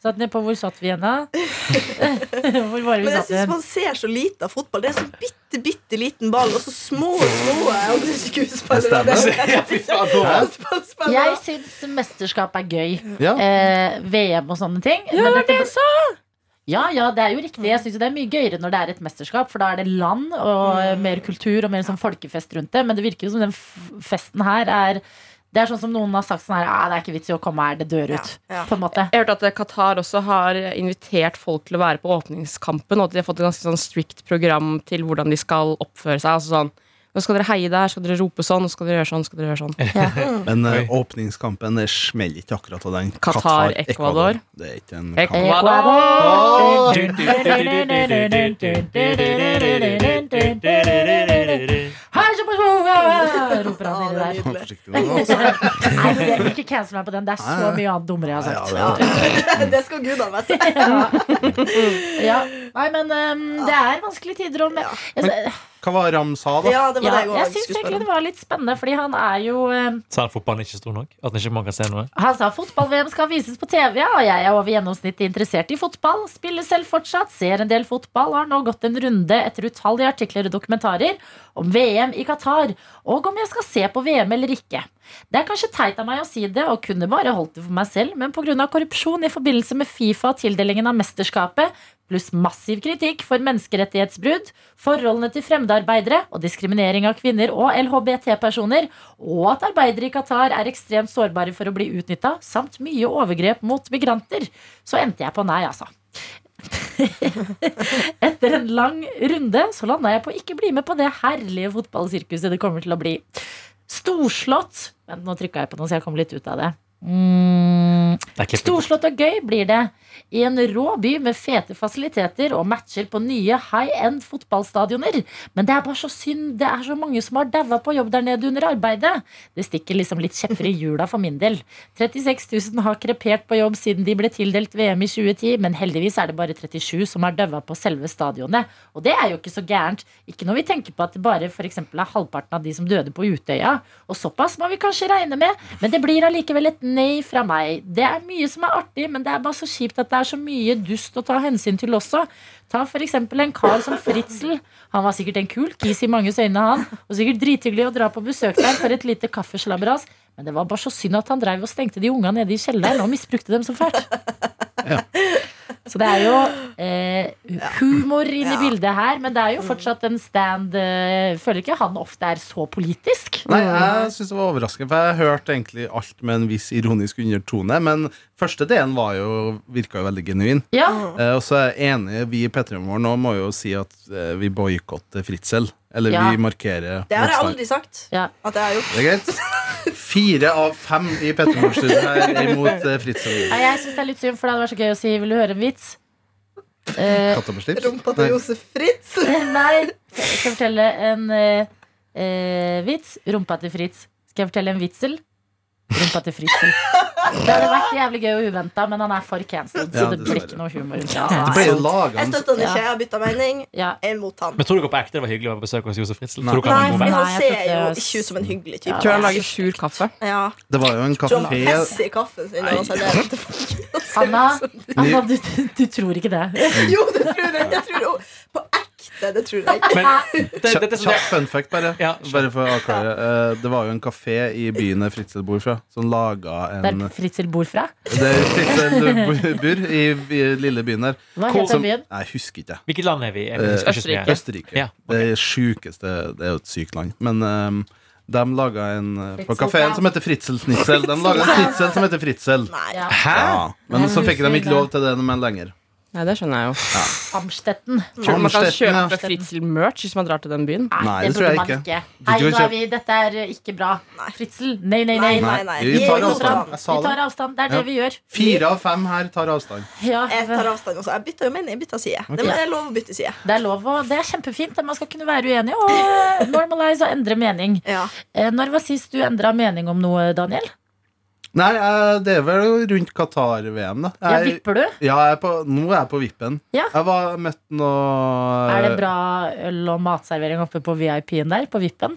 Speaker 3: Satt ned på Hvor satt vi igjen, da? Hvor var det
Speaker 5: Men
Speaker 3: vi
Speaker 5: jeg
Speaker 3: satt
Speaker 5: syns
Speaker 3: igjen?
Speaker 5: man ser så lite av fotball. Det er så bitte, bitte liten ball, og så små, små andre skuespillere.
Speaker 6: Det stemmer.
Speaker 5: Det er fotballspillere.
Speaker 3: Jeg syns mesterskap er gøy.
Speaker 6: Ja.
Speaker 3: eh, VM og sånne ting. Ja, det var det jeg sa! Ja, ja, det er jo riktig.
Speaker 5: Mm.
Speaker 3: Jeg synes jo det er mye gøyere når det er et mesterskap, for da er det land og
Speaker 5: Mm.
Speaker 3: eh, mer kultur og mer sånn folkefest rundt det. Men det virker jo som den f- festen her er Det er sånn som noen har sagt sånn her «Ah, Det er ikke vits i å komme her, det dør ut.
Speaker 5: Ja, ja.
Speaker 3: På en måte.
Speaker 4: Jeg hørte at eh, Qatar også har invitert folk til å være på åpningskampen, og at de har fått et ganske sånn strikt program til hvordan de skal oppføre seg. Altså sånn, nå skal dere heie der, skal dere rope sånn, nå skal dere gjøre sånn, skal dere gjøre sånn.
Speaker 6: Men eh,
Speaker 2: Oi.
Speaker 6: åpningskampen det smeller ikke akkurat av den.
Speaker 4: Qatar, Ecuador.
Speaker 6: Det er ikke en kamp.
Speaker 4: Ecuador!
Speaker 3: Roper han
Speaker 5: Ja,
Speaker 3: inni der.
Speaker 5: det er
Speaker 6: Forsiktig nå, altså.
Speaker 3: Nei, men dere vil ikke cancel meg på den. Det er så mye annet dummere jeg har
Speaker 6: Ja,
Speaker 3: sagt.
Speaker 6: ja, det er det.
Speaker 5: Det skal gudene vite.
Speaker 3: Ja. Nei, men ehm, det er vanskelige tider. Og med, jeg,
Speaker 6: Hva var Ram sa, da?
Speaker 5: Ja, det var
Speaker 3: ja,
Speaker 5: det jeg
Speaker 3: jeg
Speaker 5: også
Speaker 3: syns
Speaker 5: skulle
Speaker 3: egentlig
Speaker 5: spørre
Speaker 3: det
Speaker 5: om.
Speaker 3: var litt spennende, fordi han er jo ehm,
Speaker 2: Sa han fotballen ikke stor nok? At ikke man kan se noe?
Speaker 3: Han sa fotball-VM skal vises på TV, ja, og jeg er over gjennomsnittet interessert i fotball. Spiller selv fortsatt, ser en del fotball, og har nå gått en runde etter utallige artikler og dokumentarer om VM i Qatar, og om jeg skal se på VM eller ikke. Det er kanskje teit av meg å si det, og kunne bare holdt det for meg selv, men pga. korrupsjon i forbindelse med Fifa og tildelingen av mesterskapet, pluss massiv kritikk for menneskerettighetsbrudd, forholdene til fremmedarbeidere og diskriminering av kvinner og LHBT-personer, og at arbeidere i Qatar er ekstremt sårbare for å bli utnytta, samt mye overgrep mot migranter, så endte jeg på nei, altså. Etter en lang runde så landa jeg på å ikke bli med på det herlige fotballsirkuset det kommer til å bli. Storslått Vent, nå trykka jeg på noe, så jeg kom litt ut av det. Mm.
Speaker 2: Det er klippet.
Speaker 3: Storslått og gøy blir det. I en rå by med fete fasiliteter og matcher på nye high-end fotballstadioner. Men det er bare så synd. Det er så mange som har daua på jobb der nede under arbeidet. Det stikker liksom litt kjepper i hjula for min del. 36 000 har krepert på jobb siden de ble tildelt VM i 2010, men heldigvis er det bare 37 som har daua på selve stadionet. Og det er jo ikke så gærent. Ikke når vi tenker på at det bare for eksempel er halvparten av de som døde på Utøya. Og såpass må vi kanskje regne med, men det blir allikevel et nei fra meg. Det er mye som er artig, men det er bare så kjipt at det er så mye dust å ta hensyn til også. Ta for eksempel en kar som Fritzel. Han var sikkert en kul kis i manges øyne, han. Og sikkert drithyggelig å dra på besøk der for et lite kaffeslabberas. Men det var bare så synd at han dreiv og stengte de unga nede i kjelleren og misbrukte dem så fælt. Så det er jo eh, humor inni
Speaker 5: Ja.
Speaker 3: bildet her, men det er jo fortsatt en stand eh, Føler ikke han ofte er så politisk?
Speaker 6: Nei, jeg syns det var overraskende, for jeg hørte egentlig alt med en viss ironisk undertone. Men første delen var jo, virka jo veldig genuin.
Speaker 3: Ja,
Speaker 6: Eh, og så er jeg enig, vi i P3 Morgen nå må jo si at eh, vi boikotter Fritzel. Eller
Speaker 3: Ja.
Speaker 6: vi markerer
Speaker 5: Det har jeg
Speaker 6: motstand.
Speaker 5: aldri sagt
Speaker 3: Ja.
Speaker 5: at jeg har gjort.
Speaker 6: Det er greit. Fire av fem i P3 Morgen-studio her er imot eh, Fritzel.
Speaker 3: Nei, jeg syns det er litt synd, for det hadde vært så gøy å si 'vil du høre en vits'? Eh,
Speaker 6: Katta på slips.
Speaker 5: Rumpa til
Speaker 6: Nei.
Speaker 5: Josef Fritz.
Speaker 3: nei. Skal jeg fortelle en eh, eh, vits? Rumpa til Fritz. Skal jeg fortelle en vitsel? Rumpa til Fritzel. Det hadde vært jævlig gøy og uventa, men han er for cancelled, så
Speaker 6: Ja,
Speaker 3: det blir
Speaker 6: dessverre.
Speaker 3: ikke noe humor. rundt
Speaker 6: Det
Speaker 3: det.
Speaker 6: ble jo laga
Speaker 5: Jeg støtter han
Speaker 3: Ja.
Speaker 5: ikke. Jeg har bytta mening.
Speaker 3: Ja.
Speaker 5: Jeg er mot han.
Speaker 2: Men tror dere på ekte det var hyggelig å være på besøk hos Josef Fritzl?
Speaker 6: Nei.
Speaker 2: Tror dere
Speaker 5: Nei,
Speaker 2: han
Speaker 5: for
Speaker 2: var en god venn?
Speaker 5: han
Speaker 3: Nei, jeg
Speaker 5: ser
Speaker 3: tror
Speaker 5: jo
Speaker 3: det-
Speaker 5: ikke ut som en hyggelig
Speaker 3: Ja.
Speaker 5: type.
Speaker 4: Tror han lager sur kaffe.
Speaker 5: Ja.
Speaker 6: Det var jo en
Speaker 5: Tror han
Speaker 6: kafé
Speaker 5: pisser i kaffen sin når han serverer til folk.
Speaker 3: Anna, Anna du, du tror ikke det.
Speaker 5: Jo, det tror jeg. jeg tror, jo- på ekte det, det tror jeg ikke.
Speaker 2: Men det, det, det, det,
Speaker 6: Kjapp fun fact, bare.
Speaker 2: Ja,
Speaker 6: bare for å avklare. Eh, Det var jo en kafé i byen der Fritzel bor fra, som laga en
Speaker 3: Der Fritzel bor fra.
Speaker 6: Det er Fritzel bor i i lille byen der.
Speaker 3: Hva heter
Speaker 6: Som-
Speaker 3: byen?
Speaker 6: Nei, jeg husker ikke.
Speaker 2: Hvilket land er vi i? Jeg husker ikke så mye.
Speaker 6: Østerrike.
Speaker 2: Ja,
Speaker 6: Det er sjukeste Det er jo et sykt land. Men ehm, de laga en eh, på kafeen som heter Fritzelsnitzel. De laga en snitsel som heter Fritzel.
Speaker 5: Nei.
Speaker 3: Ja,
Speaker 6: Ja. Men så fikk de ikke lov til det men lenger.
Speaker 4: Nei, det skjønner jeg jo.
Speaker 3: Amstetten.
Speaker 4: Tror du man kan
Speaker 6: Amstetten, ja.
Speaker 4: kjøpe Fritzel-merch hvis man drar til den byen?
Speaker 6: Nei, det tror
Speaker 3: burde
Speaker 6: jeg
Speaker 3: man
Speaker 6: ikke. Du
Speaker 3: Nei,
Speaker 6: tror
Speaker 3: nå
Speaker 6: ikke-
Speaker 3: er vi, dette er ikke bra.
Speaker 5: Nei.
Speaker 3: Fritzel, nei, nei, nei.
Speaker 5: Nei, nei.
Speaker 6: Vi
Speaker 5: Vi
Speaker 6: tar
Speaker 5: går fram.
Speaker 6: avstand. Jeg sa
Speaker 3: Vi tar
Speaker 6: det.
Speaker 3: avstand. Det er
Speaker 6: Ja.
Speaker 3: det vi gjør.
Speaker 6: Fire av fem her tar avstand.
Speaker 3: Ja,
Speaker 5: Jeg tar avstand også. Jeg bytta jo mening, jeg bytta side. Det må- det er lov å bytte side.
Speaker 3: det er lov, og det er kjempefint. Man skal kunne være uenig og normalize og endre mening.
Speaker 5: Ja.
Speaker 3: Eh, Når var sist du endra mening om noe, Daniel?
Speaker 6: Nei, eh, det er vel rundt Qatar-VM, da.
Speaker 3: Ja,
Speaker 6: Jeg-
Speaker 3: Vipper du?
Speaker 6: Ja, jeg er på, nå er jeg på vippen.
Speaker 3: Ja.
Speaker 6: Jeg var møtt noe
Speaker 3: Er det bra øl- og matservering oppe på VIP-en der? På Vippen?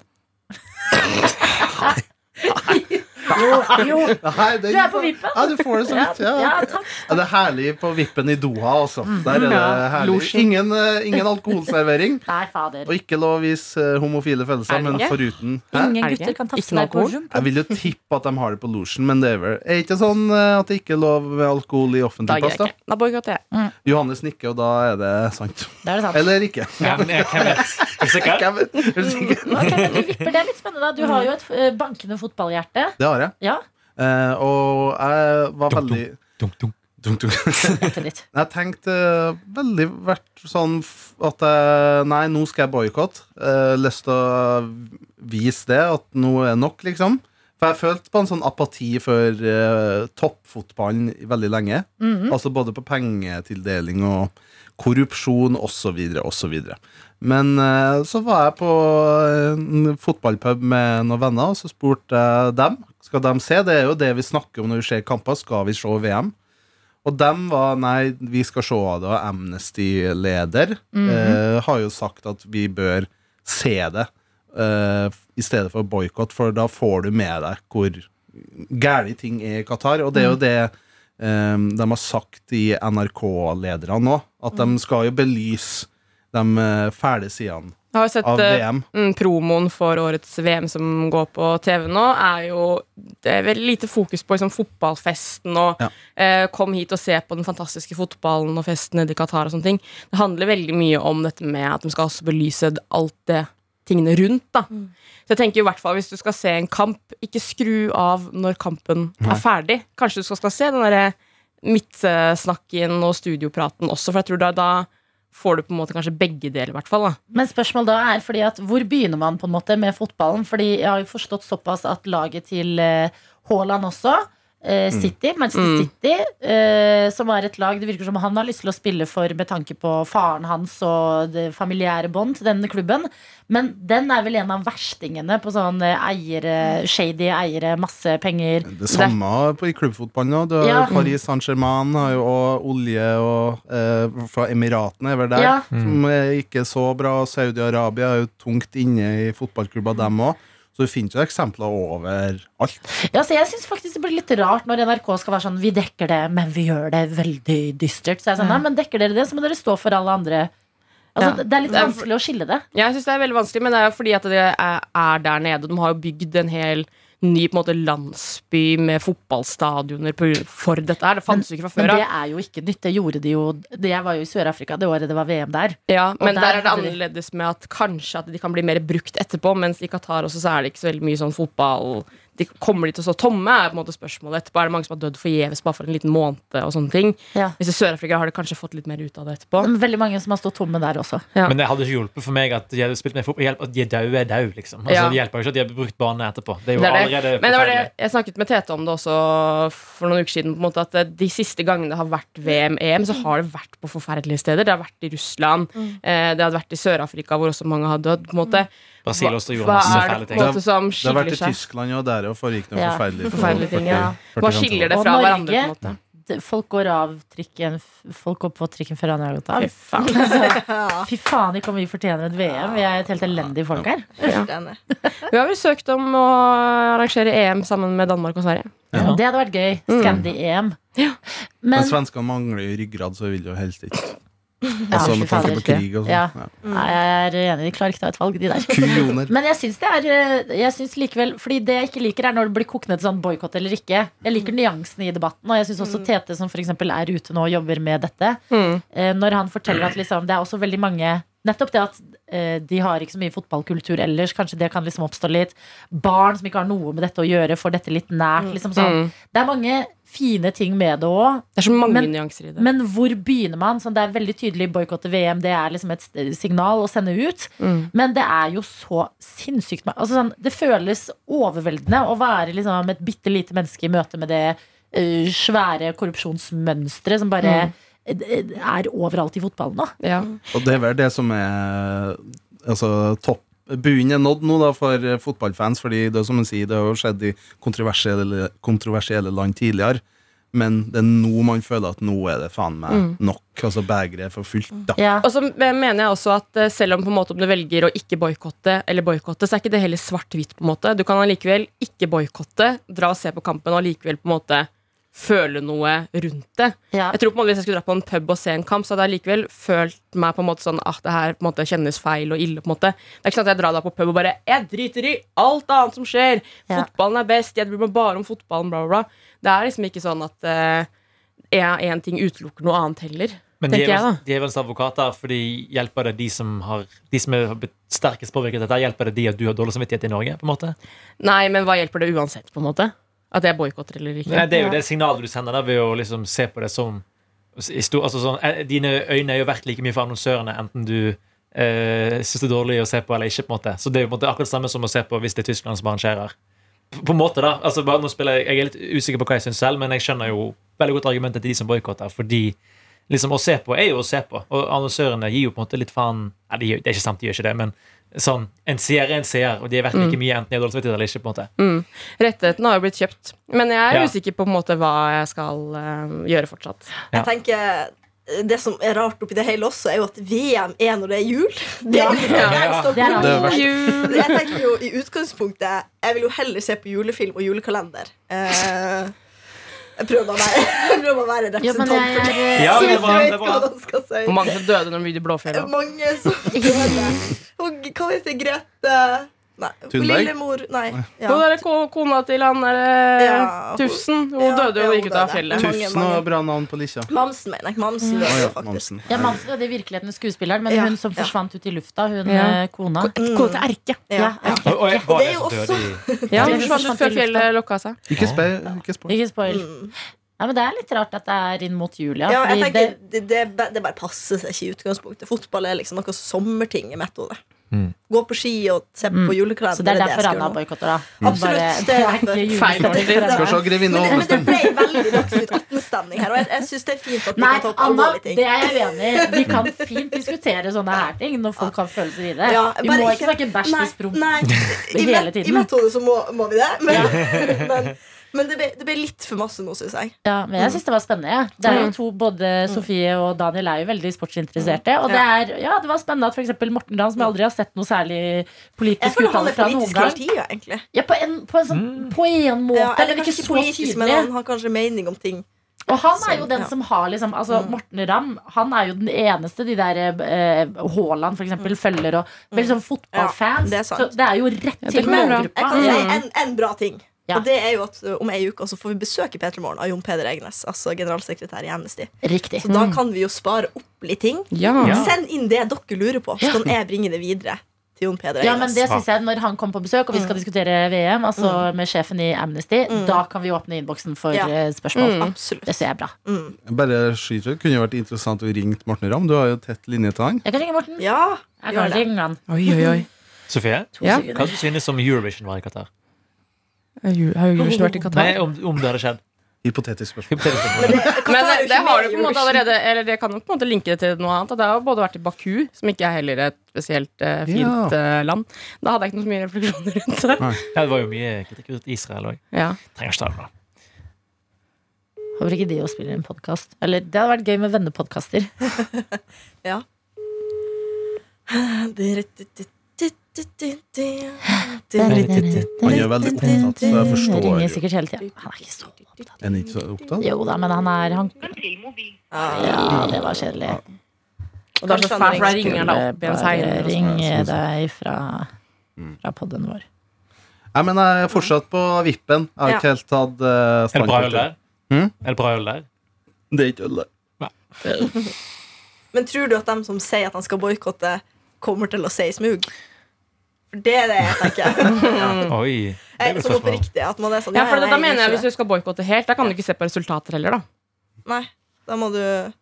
Speaker 3: Jo, jo.
Speaker 6: Nei, det,
Speaker 3: Du er på vippen?
Speaker 6: Ja, du får det så
Speaker 3: Ja,
Speaker 6: vidt. Ja.
Speaker 3: ja, takk. Mm.
Speaker 6: Ja, det er herlig på vippen i Doha, altså. Der er det
Speaker 4: Ja,
Speaker 6: herlig.
Speaker 4: losjen.
Speaker 6: Ingen, eh, ingen alkoholservering.
Speaker 3: Nei, fader.
Speaker 6: Og ikke lov å vise eh, homofile
Speaker 4: Er
Speaker 6: følelser,
Speaker 4: det
Speaker 6: men
Speaker 4: ikke?
Speaker 6: foruten Hæ?
Speaker 3: Ingen
Speaker 4: Er det ikke?
Speaker 3: gutter kan
Speaker 4: Ikke
Speaker 3: tafse
Speaker 4: noe
Speaker 3: deg på
Speaker 4: alkohol?
Speaker 3: rumpa.
Speaker 6: Jeg vil jo tippe at de har det på losjen, men det er vel Er ikke sånn eh, at det ikke er lov med alkohol i
Speaker 4: Da
Speaker 6: offentlig
Speaker 4: gidder
Speaker 6: plass, da?
Speaker 4: jeg ikke. Da boikotter jeg.
Speaker 6: Johannes nikker, og da er det sant.
Speaker 3: Det er det sant.
Speaker 6: Eller ikke.
Speaker 2: Ja, men jeg- hvem vet? Er du sikker?
Speaker 6: Jeg vet- jeg er sikker.
Speaker 3: Ok, men du vipper, Det er litt spennende. da. Du har jo et eh, bankende fotballhjerte.
Speaker 6: Det har jeg.
Speaker 3: Ja,
Speaker 6: Eh, og jeg var
Speaker 2: Dunk,
Speaker 6: veldig
Speaker 2: Dunk, dunk.
Speaker 6: Dunk, dunk.
Speaker 3: vente litt.
Speaker 6: Jeg tenkte veldig vært sånn f- at jeg, Nei, nå skal jeg boikotte. Uh, lyst til å vise det, at nå er nok, liksom. For jeg følte på en sånn apati for eh, toppfotballen veldig lenge. Altså både på pengetildeling og korrupsjon osv. osv. Men eh, så var jeg på en fotballpub med noen venner, og så spurte jeg dem. Skal de se? Det er jo det vi snakker om når vi ser kamper. Skal vi se VM? Og dem var Nei, vi skal se det. Og Amnesty-leder eh, har jo sagt at vi bør se det eh, i stedet for boikott, for da får du med deg hvor gæli ting er i Qatar. Og det er jo det eh, de har sagt i NRK-lederne nå, at de skal jo belyse de eh, fæle sidene
Speaker 4: Jeg har jo sett
Speaker 6: av
Speaker 4: eh,
Speaker 6: VM.
Speaker 4: mm, promoen for årets VM som går på TV nå, er jo Det er veldig lite fokus på liksom, fotballfesten og
Speaker 6: Ja.
Speaker 4: eh, kom hit og se på den fantastiske fotballen og festen nede i Qatar og sånne ting. Det handler veldig mye om dette med at de skal også belyse alt det tingene rundt, da. Så jeg tenker i hvert fall hvis du skal se en kamp, ikke skru av når kampen er ferdig. Kanskje du skal, skal se den derre midtsnakken og studiopraten også, for jeg tror da, da får du på en måte kanskje begge deler, i hvert fall. da.
Speaker 3: Men spørsmålet da er fordi at hvor begynner man på en måte med fotballen? Fordi jeg har jo forstått såpass at laget til eh, Haaland også eh, City, Manchester City, eh, som er et lag det virker som han har lyst til å spille for med tanke på faren hans og det familiære bånd til denne klubben. Men den er vel en av verstingene på sånn eh, eiere, shady eiere, masse penger.
Speaker 6: Det samme på- i klubbfotballen nå. Du har
Speaker 3: Ja.
Speaker 6: jo Paris Saint-Germain har jo, og olje og eh, fra Emiratene er vel der,
Speaker 3: Ja.
Speaker 6: som er ikke så bra. Saudi-Arabia er jo tungt inne i fotballklubber, dem òg. Så du finner ikke eksempler overalt.
Speaker 3: Ja, så jeg synes faktisk det blir litt rart når NRK skal være sånn Vi dekker det, men vi gjør det veldig dystert. Så jeg er sånn, nei, men dekker dere det, så må dere stå for alle andre. Altså,
Speaker 4: Ja.
Speaker 3: Det er litt
Speaker 4: Det er-
Speaker 3: vanskelig å skille det.
Speaker 4: Ja, Jeg synes det er veldig vanskelig, men det er jo fordi at det er, er der nede. og De har jo bygd en hel ny på en måte, landsby med fotballstadioner på, for dette her. Det fantes jo ikke fra
Speaker 3: Men
Speaker 4: før
Speaker 3: det
Speaker 4: av.
Speaker 3: er jo ikke nytt. Det gjorde de jo det Jeg var jo i Sør-Afrika det året det var VM der.
Speaker 4: Ja, men
Speaker 3: der
Speaker 4: der, er det
Speaker 3: hadde de-
Speaker 4: annerledes med at kanskje at de kan bli mer brukt etterpå. Mens i Qatar også så er det ikke så veldig mye sånn fotball de Kommer de til å stå tomme? er på en måte spørsmålet etterpå. Er det mange som har dødd forgjeves bare for en liten måned? og sånne ting?
Speaker 3: Ja.
Speaker 4: Hvis i Sør-Afrika har de kanskje fått litt mer ut av det etterpå.
Speaker 3: Men Veldig mange som har stått tomme der også.
Speaker 4: Ja.
Speaker 2: Men det hadde ikke hjulpet for meg at de hadde spilt med fotball. Hjelp at de er daue, er daue, liksom. Altså,
Speaker 4: Ja.
Speaker 2: Det hjelper jo ikke at de har brukt bane etterpå. Det er jo
Speaker 4: Det er det.
Speaker 2: allerede
Speaker 4: Men det var det,
Speaker 2: forferdelig.
Speaker 4: jeg snakket med Tete om det også for noen uker siden. På en måte, at De siste gangene det har vært VM-EM, så har det vært på forferdelige steder. Det har vært i Russland,
Speaker 3: Mm.
Speaker 4: eh, det har vært i Sør-Afrika, hvor også mange har dødd. på en måte.
Speaker 2: Brasil også gjorde
Speaker 4: Hva
Speaker 2: masse
Speaker 4: er
Speaker 2: fæle
Speaker 4: det på
Speaker 2: ting.
Speaker 4: en måte som
Speaker 6: Det har vært
Speaker 4: skiller
Speaker 6: i
Speaker 4: seg?
Speaker 6: Tyskland og der og foregikk noe
Speaker 3: Ja,
Speaker 6: forferdelig. for
Speaker 4: forferdelige ting,
Speaker 6: 40
Speaker 4: ja.
Speaker 6: 40
Speaker 4: Hva
Speaker 6: kanskje
Speaker 4: skiller det
Speaker 3: Og
Speaker 4: fra
Speaker 3: Norge?
Speaker 4: hverandre? på en måte?
Speaker 3: Det- Folk går av trikken f- Folk går på trikken før andre har gått av.
Speaker 4: Fy faen.
Speaker 3: Altså, Fy faen ikke om vi fortjener et VM. Vi er et helt elendig folk her.
Speaker 5: Enig.
Speaker 4: Hun har vel søkt om å arrangere EM sammen med Danmark og Sverige.
Speaker 2: Ja.
Speaker 3: Det
Speaker 4: Mm.
Speaker 3: hadde vært gøy. Scandi-EM.
Speaker 6: Men
Speaker 3: E Men
Speaker 6: Altså, svenskene mangler jo ryggrad, så vil jo helst ikke. Altså
Speaker 3: fy
Speaker 6: med tanke
Speaker 3: fader.
Speaker 6: på krig og sånn.
Speaker 3: Ja.
Speaker 6: Ja.
Speaker 3: Nei, jeg er enig, de klarer ikke å ta et valg, de der.
Speaker 6: Kujoner.
Speaker 3: Men jeg syns det er eh, jeg synes likevel, fordi det jeg ikke liker, er når det blir kokt ned til sånn boikott eller ikke. Jeg liker nyansene i debatten, og jeg syns også Tete, som f.eks. er ute nå og jobber med dette, eh, når han forteller at liksom, det er også veldig mange Nettopp det at eh, de har ikke så mye fotballkultur ellers. Kanskje det kan liksom oppstå litt. Barn som ikke har noe med dette å gjøre, får dette litt nært. Liksom sånn. Det er mange fine ting med det òg.
Speaker 4: Det er så mange
Speaker 3: Men-
Speaker 4: nyanser i det.
Speaker 3: Men hvor begynner man? Sånn, det er veldig tydelig boikotte VM. Det er liksom et st- signal å sende ut. Men det er jo så sinnssykt ma- altså, sånn, Det føles overveldende å være liksom, et bitte lite menneske i møte med det eh, svære korrupsjonsmønsteret som bare eh, er overalt i fotballen nå.
Speaker 4: ja.
Speaker 6: Og det er vel det som er altså, topp. Bunnen er nådd nå da for eh, fotballfans, fordi det, er som man sier, det har jo skjedd i kontroversielle, kontroversielle land tidligere. Men det er nå man føler at nå er det faen meg nok. Altså Begeret er for fullt, da.
Speaker 3: Mm. Ja.
Speaker 4: Og så mener jeg også at eh, selv om på en måte om du velger å ikke boikotte, eller boikotte, så er ikke det heller svart-hvitt. på en måte. Du kan allikevel ikke boikotte, dra og se på kampen og allikevel på en måte føle noe rundt det.
Speaker 3: Ja.
Speaker 4: Jeg tror på en måte Hvis jeg skulle dra på en pub og se en kamp, så hadde jeg likevel følt meg på en måte sånn at det her på en måte kjennes feil og ille. på en måte. Det er ikke sånn at jeg drar da på pub og bare Jeg driter i alt annet som skjer!
Speaker 3: Ja.
Speaker 4: Fotballen er best! Jeg bryr meg bare om fotballen, bla, bla, bla. Det er liksom ikke sånn at én ting utelukker noe annet heller.
Speaker 2: Men
Speaker 4: tenker jeg,
Speaker 2: djevelens
Speaker 4: da.
Speaker 2: djevelens advokater, fordi hjelper det de som, har, de som er blitt sterkest påvirket av dette, hjelper det de at du har dårlig samvittighet i Norge? på en måte?
Speaker 4: Nei, men hva hjelper det uansett, på en måte? At jeg boikotter eller ikke?
Speaker 2: Nei, det er jo det signalet du sender da, ved å liksom se på det som i stor, altså sånn, eh, Dine øyne er jo verdt like mye for annonsørene, enten du eh, syns det er dårlig å se på eller ikke. på en måte. Så det er jo på en måte akkurat det samme som å se på hvis det er Tyskland som arrangerer. På, på en måte da, altså bare nå spiller jeg, jeg er litt usikker på hva jeg syns selv, men jeg skjønner jo veldig godt argumentet til de som boikotter. fordi liksom å se på er jo å se på, og annonsørene gir jo på en måte litt faen Nei, de gjør- det er ikke sant, de gjør ikke det, men sånn, en seer er en seer, og de er verdt
Speaker 5: Mm.
Speaker 2: like mye enten de har dårlig samvittighet eller ikke. på en måte.
Speaker 4: Rettigheten har jo blitt kjøpt. Men jeg er
Speaker 2: Ja.
Speaker 4: usikker på på en måte hva jeg skal eh, gjøre fortsatt.
Speaker 2: Ja.
Speaker 5: Jeg tenker det som er rart oppi det hele også, er jo at VM er når det er jul. Det er jo
Speaker 4: Ja.
Speaker 5: jeg står
Speaker 3: Det er
Speaker 5: på
Speaker 6: verst.
Speaker 5: jul. Jeg tenker jo i utgangspunktet Jeg vil jo heller se på julefilm og julekalender. Eh, jeg prøver å være, jeg prøver å være
Speaker 3: Jo, men
Speaker 5: representant
Speaker 3: jeg
Speaker 5: for det.
Speaker 3: er,
Speaker 2: Ja,
Speaker 5: Så
Speaker 2: men det
Speaker 5: jeg
Speaker 2: er bra, det
Speaker 5: vet
Speaker 2: er
Speaker 5: hva
Speaker 2: bra.
Speaker 5: man skal si.
Speaker 4: Hvor mange som døde når de bygde blåfjell? da?
Speaker 5: Mange som Og hva heter Grete Nei,
Speaker 6: Thunberg?
Speaker 5: Lillemor Nei. Ja.
Speaker 4: Hun derre ko- kona til han derre
Speaker 5: Ja, hun-
Speaker 4: Tufsen. Hun
Speaker 5: ja,
Speaker 4: døde jo
Speaker 5: ja,
Speaker 4: og
Speaker 5: hun
Speaker 4: gikk ut av
Speaker 5: døde.
Speaker 4: fjellet.
Speaker 5: Mange,
Speaker 6: Tusen
Speaker 5: mange.
Speaker 6: og bra navn på bikkja.
Speaker 5: Mamsen, mener jeg. Mamsen
Speaker 6: Å
Speaker 5: døde
Speaker 6: ja,
Speaker 5: faktisk.
Speaker 6: Mamsen.
Speaker 3: ja, Mamsen er det virkeligheten skuespilleren, men
Speaker 5: Ja,
Speaker 3: hun som
Speaker 5: ja.
Speaker 3: forsvant ut i lufta, hun
Speaker 4: Ja.
Speaker 3: eh, kona.
Speaker 4: Kona til Erke.
Speaker 3: Ja,
Speaker 5: Ja.
Speaker 3: er
Speaker 2: Og, og jeg, var
Speaker 5: Det er
Speaker 2: det
Speaker 5: jo
Speaker 2: som
Speaker 5: også-
Speaker 2: døde i
Speaker 4: Ja,
Speaker 3: Ja,
Speaker 4: hun
Speaker 3: hun
Speaker 4: forsvant
Speaker 3: forsvant
Speaker 4: ut før
Speaker 3: i lufta.
Speaker 4: fjellet lokka seg.
Speaker 6: Ikke spør. Ikke spør.
Speaker 3: Ikke spoil.
Speaker 5: Mm.
Speaker 3: Nei, men det er litt rart at det er inn mot jul, ja.
Speaker 5: Ja, jeg
Speaker 3: fordi
Speaker 5: tenker det, det, ba- det bare passer seg ikke i utgangspunktet. Fotball er liksom noe sommerting i mitt hode.
Speaker 2: Mm.
Speaker 5: Gå på ski og se på
Speaker 3: Mm.
Speaker 5: julekalender.
Speaker 3: Så det er
Speaker 5: jeg
Speaker 3: derfor
Speaker 5: skal
Speaker 3: han har
Speaker 5: gjøre nå.
Speaker 3: boikotter, da.
Speaker 5: Absolutt,
Speaker 3: Bare-
Speaker 5: det er derfor.
Speaker 3: ikke julestemning
Speaker 4: Feil årstid.
Speaker 3: for henne.
Speaker 6: Skal se Grevinne
Speaker 5: Men, men det
Speaker 6: Ovnestøl.
Speaker 5: ble veldig Dagsnytt 18-stemning her, og jeg, jeg syns det er fint at vi
Speaker 3: Nei,
Speaker 5: kan ta opp
Speaker 3: Anna,
Speaker 5: alvorlige ting.
Speaker 3: det er jeg uenig i. Vi kan fint diskutere sånne her ting når folk har følelser i det.
Speaker 5: Ja,
Speaker 3: Vi
Speaker 5: bare
Speaker 3: må ikke snakke bæsj
Speaker 5: nei,
Speaker 3: i sprump.
Speaker 5: Nei, i,
Speaker 3: Hele
Speaker 5: mitt-
Speaker 3: tiden.
Speaker 5: i mitt hode så må, må vi det. Men, men, men det, ble, det ble litt for masse nå, syns jeg.
Speaker 3: Ja, men jeg syns det var spennende. Ja. Det er jo to, Både Sofie og Daniel er jo veldig
Speaker 5: Mm.
Speaker 3: sportsinteresserte. Og det, er, ja, det var spennende at for eksempel Morten Ramm, som jeg aldri har sett noe særlig
Speaker 5: Jeg
Speaker 3: politisk
Speaker 5: føler han
Speaker 3: uttale
Speaker 5: er
Speaker 3: fra noen
Speaker 5: politisk hele
Speaker 3: gang
Speaker 5: tida, egentlig.
Speaker 3: ja, på, en, på, en sånn, på en måte,
Speaker 5: Ja, eller
Speaker 3: men ikke
Speaker 5: kanskje
Speaker 3: så
Speaker 5: ikke politisk, men
Speaker 3: tydelig.
Speaker 5: han har kanskje mening om ting.
Speaker 3: Og han er jo
Speaker 5: Så,
Speaker 3: den
Speaker 5: ja. Mm.
Speaker 3: som har liksom altså Morten Ramm han er jo den eneste de der eh, Haaland for eksempel følger og Veldig sånn
Speaker 5: Mm. Ja,
Speaker 3: fotballfans.
Speaker 5: det er sant.
Speaker 3: så det er jo rett
Speaker 4: det
Speaker 3: til
Speaker 4: kan jeg bra.
Speaker 5: Jeg kan si
Speaker 3: målgruppa.
Speaker 5: en, en bra ting.
Speaker 3: Ah. Ja.
Speaker 5: Og det er jo at ø, Om ei uke også får vi besøk i P3 Morgen av Jon Peder Egnes, altså generalsekretær i Amnesty.
Speaker 3: Riktig.
Speaker 5: Så da kan vi jo spare opp litt ting.
Speaker 2: Ja.
Speaker 5: Send inn det dere lurer på, så kan jeg bringe det videre til Jon Peder
Speaker 3: Ja, men
Speaker 5: Egnes.
Speaker 3: det synes jeg Når han kommer på besøk, og vi skal
Speaker 5: Mm.
Speaker 3: diskutere VM Altså med sjefen i Amnesty, da kan vi åpne innboksen for
Speaker 5: Ja. Mm.
Speaker 3: eh, spørsmål.
Speaker 5: Absolutt.
Speaker 3: Det ser jeg bra.
Speaker 6: Bare skyter. Det kunne jo vært interessant å ringe Morten Ramm. Du har jo tett linje til han.
Speaker 3: Jeg kan ringe Morten.
Speaker 5: Ja, gjør
Speaker 3: Jeg kan
Speaker 5: det.
Speaker 3: ringe han.
Speaker 4: Oi, oi, oi.
Speaker 2: Sofie,
Speaker 4: Ja.
Speaker 2: hva du synes om Eurovision var i Qatar?
Speaker 4: Har jo Eurovision vært i
Speaker 2: Nei,
Speaker 4: Qatar?
Speaker 2: om, om det hadde skjedd.
Speaker 6: Hypotetisk spørsmål.
Speaker 2: Hypotetisk.
Speaker 4: Men
Speaker 5: Qatar er jo
Speaker 4: det
Speaker 5: ikke med i
Speaker 4: har du på en måte
Speaker 5: Eurovision.
Speaker 4: allerede Eller det kan jo på en måte linke det til noe annet. da. Det har jo både vært i Baku, som ikke er heller et spesielt eh, fint eh, land. Da hadde jeg ikke noe så mye refleksjoner rundt det.
Speaker 2: Ja, det var jo mye kritikk ut Israel òg.
Speaker 4: Ja.
Speaker 2: Trenger ikke ta det nå.
Speaker 3: Håper ikke de også spiller en podkast. Eller det hadde vært gøy med vennepodkaster.
Speaker 5: Ja.
Speaker 6: Han er veldig opptatt, så jeg
Speaker 3: Det
Speaker 6: forstår
Speaker 3: ringer
Speaker 6: jo.
Speaker 3: sikkert hele tida. Han er ikke så opptatt.
Speaker 6: Er han ikke så opptatt?
Speaker 3: Jo da, men han er han,
Speaker 5: Ja.
Speaker 3: Ja, det var kjedelig.
Speaker 4: Og det er så
Speaker 5: Kanskje han
Speaker 4: fælt, for da
Speaker 5: ringer.
Speaker 4: ringer han deg opp igjen
Speaker 3: Bare
Speaker 4: seinere.
Speaker 3: ringe deg fra,
Speaker 5: Mm.
Speaker 3: fra podden vår.
Speaker 6: Nei, men jeg er fortsatt på vippen. Jeg har ikke helt tatt uh,
Speaker 2: Er det bra øl der?
Speaker 6: Mm?
Speaker 2: Er det bra øl der?
Speaker 6: Det er ikke øl der.
Speaker 5: Men tror du at dem som sier at de skal boikotte, kommer til å si smug? For det er det jeg tenker. Jeg,
Speaker 2: Oi. Det er et
Speaker 5: sånn
Speaker 2: spørsmål.
Speaker 5: oppriktig. At man er sånn
Speaker 4: Ja, for da
Speaker 5: nei,
Speaker 4: mener jeg
Speaker 5: gjør
Speaker 4: Hvis
Speaker 5: ikke
Speaker 4: du skal boikotte helt, da kan du ikke se på resultater heller. da
Speaker 5: det. Nei, da må du
Speaker 2: Det er jo-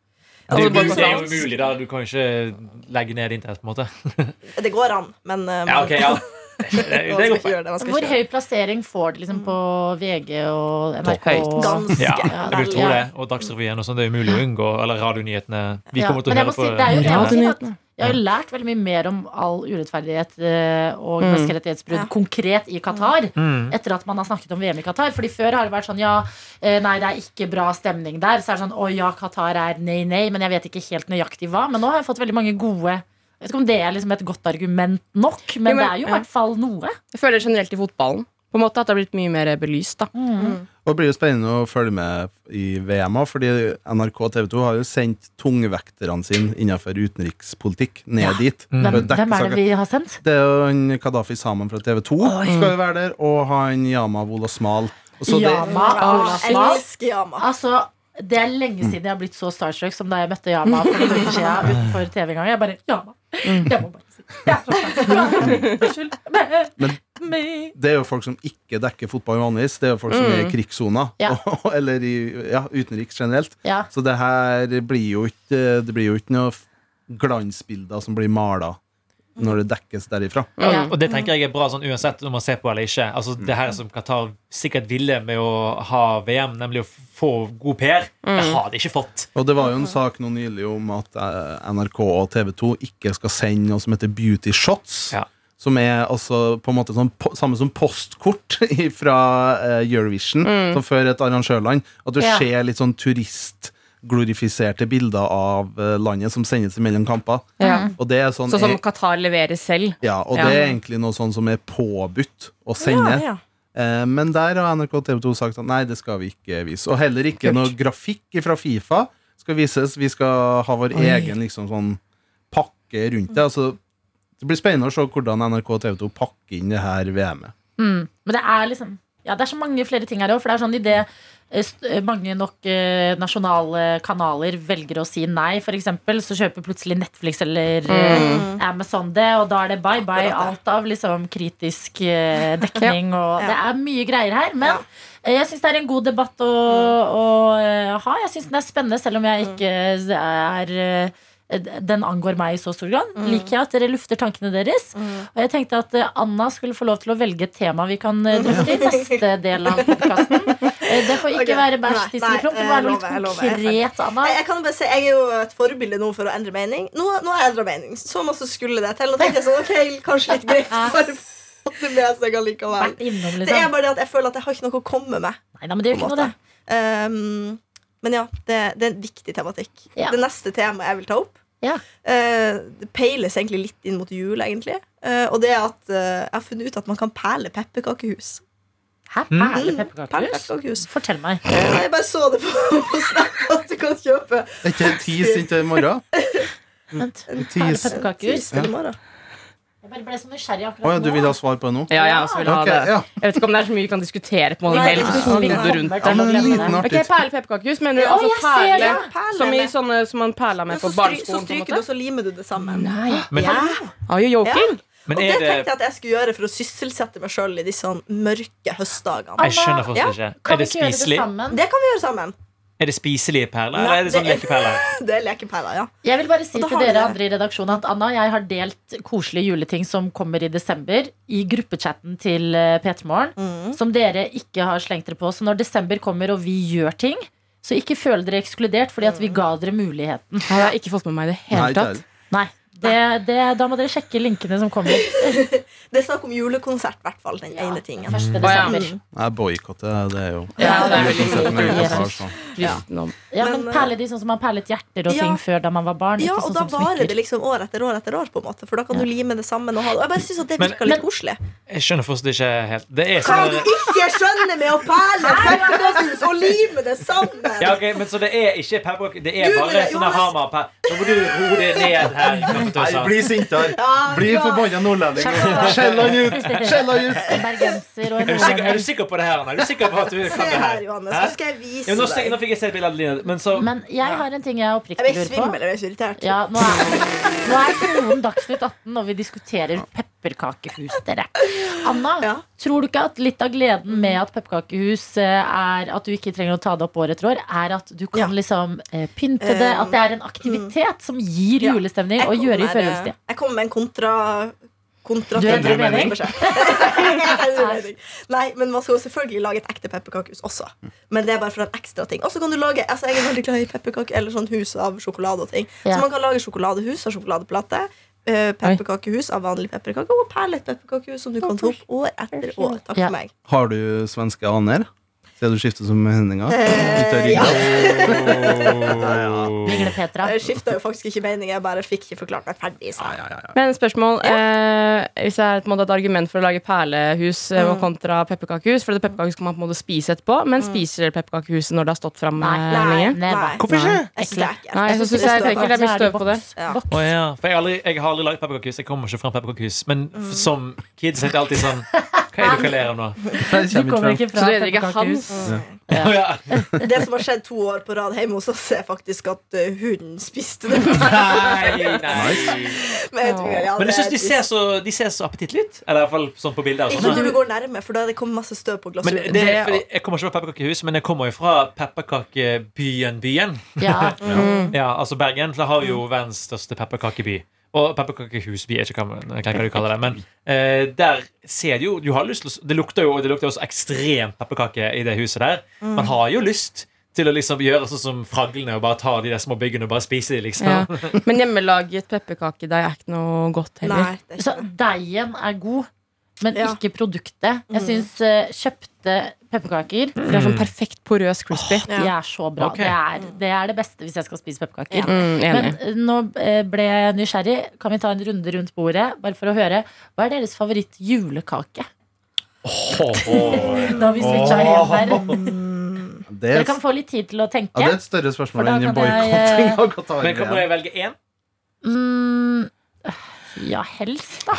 Speaker 5: Altså, bare
Speaker 2: det er jo
Speaker 5: sånn-
Speaker 2: umulig, da. Du kan jo ikke legge ned internett, på en måte.
Speaker 5: Det går an, men uh,
Speaker 2: Ja, ok, ja.
Speaker 5: man
Speaker 2: Det, det
Speaker 5: skal
Speaker 2: er godt
Speaker 5: ikke gjøre det. Man skal
Speaker 3: Hvor
Speaker 5: ikke
Speaker 3: høy plassering får det liksom på VG og NRK?
Speaker 4: Høyt.
Speaker 5: gjøre det. Ganske.
Speaker 2: Ja, jeg vil
Speaker 5: vel,
Speaker 2: tro
Speaker 5: ja.
Speaker 2: det. Og Dagsrevyen og sånn. Det er umulig å unngå. Eller radionyhetene. Vi
Speaker 3: Ja,
Speaker 2: kommer til å
Speaker 3: men jeg
Speaker 2: høre
Speaker 3: må
Speaker 2: på
Speaker 3: si- det er jo- jeg må
Speaker 2: nyhetene.
Speaker 3: si at Jeg har jo lært veldig mye mer om all urettferdighet eh, og menneskerettighetsbrudd
Speaker 5: Ja.
Speaker 3: konkret i Qatar.
Speaker 2: Mm.
Speaker 3: Etter at man har snakket om VM i Qatar. Fordi før har det vært sånn ja, eh, nei, det er ikke bra stemning der. Så er det sånn å ja, Qatar er nei, nei, men jeg vet ikke helt nøyaktig hva. Men nå har jeg fått veldig mange gode Jeg vet ikke om det er liksom et godt argument nok, men,
Speaker 4: Jo, men-
Speaker 3: det er jo i
Speaker 4: ja.
Speaker 3: hvert fall noe.
Speaker 4: Jeg føler generelt i fotballen på en måte at det har blitt mye mer belyst. da
Speaker 5: Mm.
Speaker 6: Og det blir jo spennende å følge med i VM òg, fordi NRK og TV 2 har jo sendt tungvekterne sine innenfor utenrikspolitikk ned dit.
Speaker 2: Mm.
Speaker 3: Hvem,
Speaker 6: for å dekke
Speaker 3: hvem er
Speaker 6: saker.
Speaker 3: det vi har sendt?
Speaker 6: Det er jo han Kadafi Saman fra TV 2 skal jo være der, og han Yama Wolasmal. Og så det,
Speaker 3: Yama
Speaker 5: Jeg
Speaker 3: Olasmal.
Speaker 5: elsker Yama.
Speaker 3: Altså, det er lenge siden jeg har blitt så starstruck som da jeg møtte Yama for noen uker siden utenfor TV en gang. Jeg bare Yama. Jeg må bare si jeg er så flau. Unnskyld.
Speaker 6: Men-
Speaker 3: meg.
Speaker 6: det er jo folk som ikke dekker fotball vanligvis. Det er jo folk som er i
Speaker 3: Mm.
Speaker 6: krigssoner,
Speaker 3: Ja.
Speaker 6: og- eller i ja, utenriks generelt.
Speaker 3: Ja.
Speaker 6: Så det her blir jo ikke Det blir jo ikke noe f- glansbilder som blir mala når det dekkes derifra.
Speaker 3: Ja.
Speaker 2: Og det tenker jeg er bra sånn uansett om man ser på eller ikke. Altså Det her som Qatar sikkert ville med å ha VM, nemlig å få god PR,
Speaker 5: Mm.
Speaker 2: det har de ikke fått.
Speaker 6: Og det var jo en sak nå nylig om at eh, NRK og TV 2 ikke skal sende noe som heter Beauty Shots.
Speaker 2: Ja.
Speaker 6: Som er altså på en måte sånn, po- samme som postkort fra eh, Eurovision, som før et arrangørland. At du
Speaker 3: Ja.
Speaker 6: ser litt sånn turistglorifiserte bilder av eh, landet som sendes mellom kamper. Og det er sånn,
Speaker 4: Sånn som
Speaker 6: eh,
Speaker 4: Qatar leverer selv.
Speaker 6: ja, og det er egentlig noe sånn som er påbudt å sende.
Speaker 5: Ja, ja.
Speaker 6: Eh, Men der har NRK og TV 2 sagt at nei, det skal vi ikke vise. Og heller ikke noe grafikk fra Fifa skal vises. Vi skal ha vår egen liksom, sånn, pakke rundt det. Altså, det blir spennende å se hvordan NRK og TV 2 pakker inn det her VM-et.
Speaker 3: Men det er liksom Ja, det er så mange flere ting her òg. For det er sånn i det eh, st- eh, mange nok eh, nasjonale kanaler velger å si nei, f.eks., så kjøper plutselig Netflix eller eh, Amazon det, og da er det bye bye alt av liksom kritisk eh, dekning og Det er mye greier her. Men eh, jeg syns det er en god debatt å, å eh, ha. Jeg syns den er spennende, selv om jeg ikke er eh, den angår meg i så stor grad. Liker jeg at dere lufter tankene deres. Og jeg tenkte at eh, Anna skulle få lov til å velge et tema vi kan eh, drøfte i neste del av podkasten. Det får ikke
Speaker 5: Ok.
Speaker 3: være bæsj,
Speaker 5: Nei,
Speaker 3: tiss eller
Speaker 5: nei,
Speaker 3: promp. Det
Speaker 5: jeg
Speaker 3: må være noe
Speaker 5: lover, jeg
Speaker 3: litt
Speaker 5: lover, jeg
Speaker 3: konkret, Anna.
Speaker 5: Jeg, jeg kan bare si, jeg er jo et forbilde nå for å endre mening. Nå, nå har jeg endra mening. Så masse skulle det til. Nå tenkte jeg sånn, ok, kanskje litt greit bare få det med seg allikevel.
Speaker 3: Vært innom,
Speaker 5: Det er
Speaker 3: liksom.
Speaker 5: bare det at jeg føler at jeg har ikke noe å komme med.
Speaker 3: Nei, nei, men det gjør
Speaker 5: på en
Speaker 3: ikke noe,
Speaker 5: måte. Um, men ja, det, det er en viktig tematikk.
Speaker 3: Ja.
Speaker 5: Det neste temaet jeg vil ta opp,
Speaker 3: Ja.
Speaker 5: eh, det peiles egentlig litt inn mot jul, egentlig. Eh, og det er at eh, jeg har funnet ut at man kan perle pepperkakehus. Mm.
Speaker 3: det. Hæ?
Speaker 6: Mm.
Speaker 3: Perle
Speaker 5: Perle
Speaker 3: pepperkakehus?
Speaker 5: pepperkakehus.
Speaker 3: Fortell meg.
Speaker 5: Eh, jeg bare så det på, på Snap at du kan kjøpe
Speaker 6: Det er ikke en tis inntil i morgen.
Speaker 3: Vent.
Speaker 6: En
Speaker 3: Perle
Speaker 6: Tis.
Speaker 3: pepperkakehus?
Speaker 5: til i morgen.
Speaker 3: Jeg bare ble så nysgjerrig
Speaker 6: Å ja,
Speaker 3: akkurat
Speaker 6: du vil
Speaker 3: nå.
Speaker 6: ha svar på det nå?
Speaker 4: Ja, jeg også vil ha
Speaker 6: Ok,
Speaker 4: det.
Speaker 6: ja.
Speaker 4: Jeg vet ikke om det er så mye vi kan diskutere. på en måte
Speaker 3: Nei,
Speaker 4: Det er litt
Speaker 3: jeg
Speaker 4: sånn
Speaker 3: tror vi
Speaker 4: hodet rundt
Speaker 3: kommer
Speaker 6: Ja,
Speaker 3: til å
Speaker 6: men en
Speaker 3: glemme
Speaker 6: liten
Speaker 3: det.
Speaker 4: Ok,
Speaker 6: artig
Speaker 4: Perlepepperkakehus mener du
Speaker 3: Å,
Speaker 4: altså
Speaker 3: jeg ser
Speaker 4: perle?
Speaker 3: det.
Speaker 5: Perle
Speaker 4: Som i
Speaker 5: med.
Speaker 4: sånne som man perler med
Speaker 5: Men
Speaker 4: på
Speaker 5: så, stry, så
Speaker 4: barneskolen? på en
Speaker 5: stryker du, og
Speaker 4: måte
Speaker 5: så limer du det sammen.
Speaker 4: Nei.
Speaker 2: Men,
Speaker 3: Ja.
Speaker 4: Are you joking?
Speaker 2: men
Speaker 5: Og det
Speaker 2: er det
Speaker 5: tenkte jeg at jeg skulle gjøre for å sysselsette meg sjøl i disse sånn mørke høstdagene.
Speaker 2: Jeg skjønner
Speaker 5: Ja,
Speaker 2: fortsatt ikke.
Speaker 3: Kan
Speaker 2: Er
Speaker 3: vi
Speaker 2: det
Speaker 3: ikke gjøre det
Speaker 2: spiselig?
Speaker 3: sammen?
Speaker 5: Det kan vi gjøre sammen.
Speaker 2: Er det spiselige perler,
Speaker 5: Nei,
Speaker 2: eller er det sånn
Speaker 5: det er-
Speaker 2: lekeperler?
Speaker 5: Det er lekepærer, ja.
Speaker 3: Jeg vil bare si
Speaker 5: Og da
Speaker 3: til
Speaker 5: har vi
Speaker 3: dere
Speaker 5: det.
Speaker 3: andre i redaksjonen at Anna og jeg har delt koselige juleting som kommer i desember, i gruppechatten til eh, P3 Morgen,
Speaker 5: Mm.
Speaker 3: som dere ikke har slengt dere på. Så når desember kommer og vi gjør ting, så ikke føl dere ekskludert, fordi at vi
Speaker 5: Mm.
Speaker 3: ga dere muligheten.
Speaker 4: Nei, Jeg har ikke fått med meg i det
Speaker 6: Nei,
Speaker 4: hele
Speaker 6: det
Speaker 4: tatt.
Speaker 6: er-
Speaker 3: Nei, det, det, da må dere sjekke linkene som kommer.
Speaker 5: Det er snakk om julekonsert, i hvert fall. Den ene tingen.
Speaker 3: Første
Speaker 4: ja.
Speaker 3: desember.
Speaker 6: Jeg boikotter, det er jo
Speaker 4: Ja, det er veldig
Speaker 6: Uansett, men jeg kan svare
Speaker 3: Jesus.
Speaker 6: sånn.
Speaker 4: Kristendom.
Speaker 3: Ja, men
Speaker 5: Men, eh,
Speaker 3: perle de sånn som man perlet hjerter og
Speaker 5: Ja.
Speaker 3: ting før da man var barn.
Speaker 5: Ja, og
Speaker 3: ikke sånn
Speaker 5: da
Speaker 3: som
Speaker 5: varer
Speaker 3: smykker.
Speaker 5: det liksom år etter år etter år, på en måte. For da kan du lime det sammen og ha det. Og jeg bare synes at det
Speaker 2: Men-
Speaker 5: virker litt
Speaker 3: Men-
Speaker 5: koselig.
Speaker 2: Jeg skjønner fortsatt ikke helt. Det er
Speaker 5: Kan du
Speaker 2: sånn
Speaker 5: ikke skjønne med å perle pepperkakehus og lime det sammen?
Speaker 2: ja, ok, men Så det er ikke pepperkaker, det er
Speaker 5: Du, men
Speaker 2: bare
Speaker 5: det-
Speaker 2: sånne
Speaker 5: Johannes-
Speaker 2: hamar Nå må du roe deg ned her.
Speaker 6: Nei,
Speaker 2: Kaffetøsa.
Speaker 6: bli sintere. Bli forbanna nordlending. Skjell han ut! Skjell han ut!
Speaker 3: En bergenser og en
Speaker 2: Er du, sikker, er du
Speaker 3: nordlending.
Speaker 2: sikker på det her? Anna? Er du sikker på at du kan
Speaker 5: Se
Speaker 2: det
Speaker 5: her,
Speaker 2: her?
Speaker 5: Johannes.
Speaker 2: Hæ?
Speaker 5: Nå skal jeg
Speaker 2: Ja, men nå,
Speaker 5: vise
Speaker 2: ser- nå
Speaker 5: deg.
Speaker 2: fikk jeg se et bilde av Line. Men så
Speaker 3: Men jeg har en ting jeg
Speaker 5: Jeg
Speaker 3: oppriktig
Speaker 5: blir
Speaker 3: lurer på.
Speaker 5: svimmel. Jeg blir så irritert.
Speaker 3: Ja, nå er, nå er kronen Dagsnytt 18 når vi diskuterer pepperkakehus, dere. Anna,
Speaker 5: Ja.
Speaker 3: tror du ikke at litt av gleden med at pepperkakehus eh, er at du ikke trenger å ta det opp år etter år, er at du kan
Speaker 5: Ja. Eh, mm.
Speaker 3: liksom eh, pynte det? At det er en aktivitet som gir
Speaker 5: Ja.
Speaker 3: julestemning
Speaker 5: Jeg
Speaker 3: og
Speaker 5: kommer eh,
Speaker 3: gjør i
Speaker 5: med-
Speaker 3: følelsestid?
Speaker 5: Jeg kommer med en kontra Kontra
Speaker 3: Du endrer mening?
Speaker 5: mening? Nei, men man skal jo selvfølgelig lage et ekte pepperkakehus også. Men det er bare for en ekstra ting. Og så kan du lage altså Jeg er veldig glad i pepperkake eller sånn hus av sjokolade og ting.
Speaker 3: Ja.
Speaker 5: Så man kan lage sjokoladehus av sjokoladeplate. eh, Pepperkakehus av vanlig pepperkake og perlepepperkakehus som du kan ta opp år etter år. Takk
Speaker 3: Ja.
Speaker 5: for meg.
Speaker 6: Har du svenske aner? Siden du skifter som hendinger?
Speaker 5: Eh, ja.
Speaker 3: Vigle Petra.
Speaker 5: Jeg skifta jo faktisk ikke mening, jeg bare fikk ikke forklart meg ferdig. Så.
Speaker 4: Men spørsmål eh, Hvis det er et, på en måte, et argument for å lage perlehus eh, kontra pepperkakehus For pepperkakehus kan man på en måte spise etterpå, men spiser dere pepperkakehuset når det har stått fram
Speaker 3: Nei,
Speaker 4: eh,
Speaker 5: Nei.
Speaker 4: lenge?
Speaker 3: Neva.
Speaker 5: Nei.
Speaker 6: Hvorfor ikke?
Speaker 5: Jeg synes det er ekkelt.
Speaker 4: Nei, så
Speaker 5: synes
Speaker 4: synes
Speaker 5: det
Speaker 4: jeg
Speaker 5: står
Speaker 4: tenker det er
Speaker 5: bak.
Speaker 4: mye støv på det.
Speaker 5: Ja.
Speaker 2: Å ja. For jeg har aldri, jeg har aldri lagd pepperkakehus. Jeg kommer ikke fra pepperkakehus. Men f- som kid så heter jeg alltid sånn Hva er det dere ler av nå?
Speaker 3: Du
Speaker 6: Der kommer
Speaker 3: kommer
Speaker 6: vi
Speaker 3: ikke
Speaker 6: fra.
Speaker 4: Så
Speaker 3: fra
Speaker 4: du heter ikke
Speaker 3: pepperkakehus.
Speaker 4: Hans?
Speaker 2: Å ja.
Speaker 5: Det som har skjedd to år på rad hjemme hos oss, er faktisk at eh, hunden spiste det. Men
Speaker 2: Nei, nei.
Speaker 5: jeg tror jeg
Speaker 2: Men jeg syns
Speaker 5: aldri
Speaker 2: de ser så, de ser så appetittlige ut. Eller i hvert fall sånn på bilder. Og
Speaker 5: Ikke
Speaker 2: sånn.
Speaker 5: når du går nærme, for da er det kommet masse støv på
Speaker 2: Men
Speaker 5: glasuret.
Speaker 2: det er fordi Jeg kommer ikke fra pepperkakehus, men jeg kommer jo fra pepperkakebyen Byen.
Speaker 3: Ja.
Speaker 4: Mm.
Speaker 2: Ja, altså Bergen for det har jo verdens største pepperkakeby. Og pepperkakehusby, jeg vet ikke hva jeg vet ikke hva du kaller det. Men eh, der ser du jo Du har lyst til å Det lukter jo det lukter også ekstremt pepperkake i det huset der. Man har jo lyst til å liksom gjøre sånn som fraglene og bare ta de der små byggene og bare spise de, liksom.
Speaker 4: Ja. Men hjemmelaget pepperkakedeig er ikke noe godt heller.
Speaker 5: Nei, det er
Speaker 3: Så
Speaker 5: ikke det.
Speaker 3: deigen er god, men
Speaker 5: Ja. Mm.
Speaker 3: ikke produktet. Jeg syns eh, kjøpte pepperkaker
Speaker 4: Det er sånn perfekt porøs crispy.
Speaker 5: Ja.
Speaker 3: De er så bra.
Speaker 2: Ok.
Speaker 3: Det, er, det er det beste hvis jeg skal spise pepperkaker.
Speaker 5: Ja.
Speaker 4: Mm,
Speaker 3: Men
Speaker 4: enig.
Speaker 3: eh, nå eh, ble jeg nysgjerrig. Kan vi ta en runde rundt bordet bare for å høre? Hva er deres favoritt-julekake? Da har vi switcha igjen der.
Speaker 6: Det er,
Speaker 3: Dere
Speaker 6: et-
Speaker 3: kan få litt tid til å
Speaker 6: ja, det
Speaker 3: tenke.
Speaker 6: er et større
Speaker 3: For
Speaker 6: spørsmål
Speaker 3: da
Speaker 6: enn
Speaker 3: kan
Speaker 6: boikotting
Speaker 3: jeg, eh,
Speaker 6: av Qatar.
Speaker 2: Men kan må jeg velge én?
Speaker 3: Mm, ja, helst, da.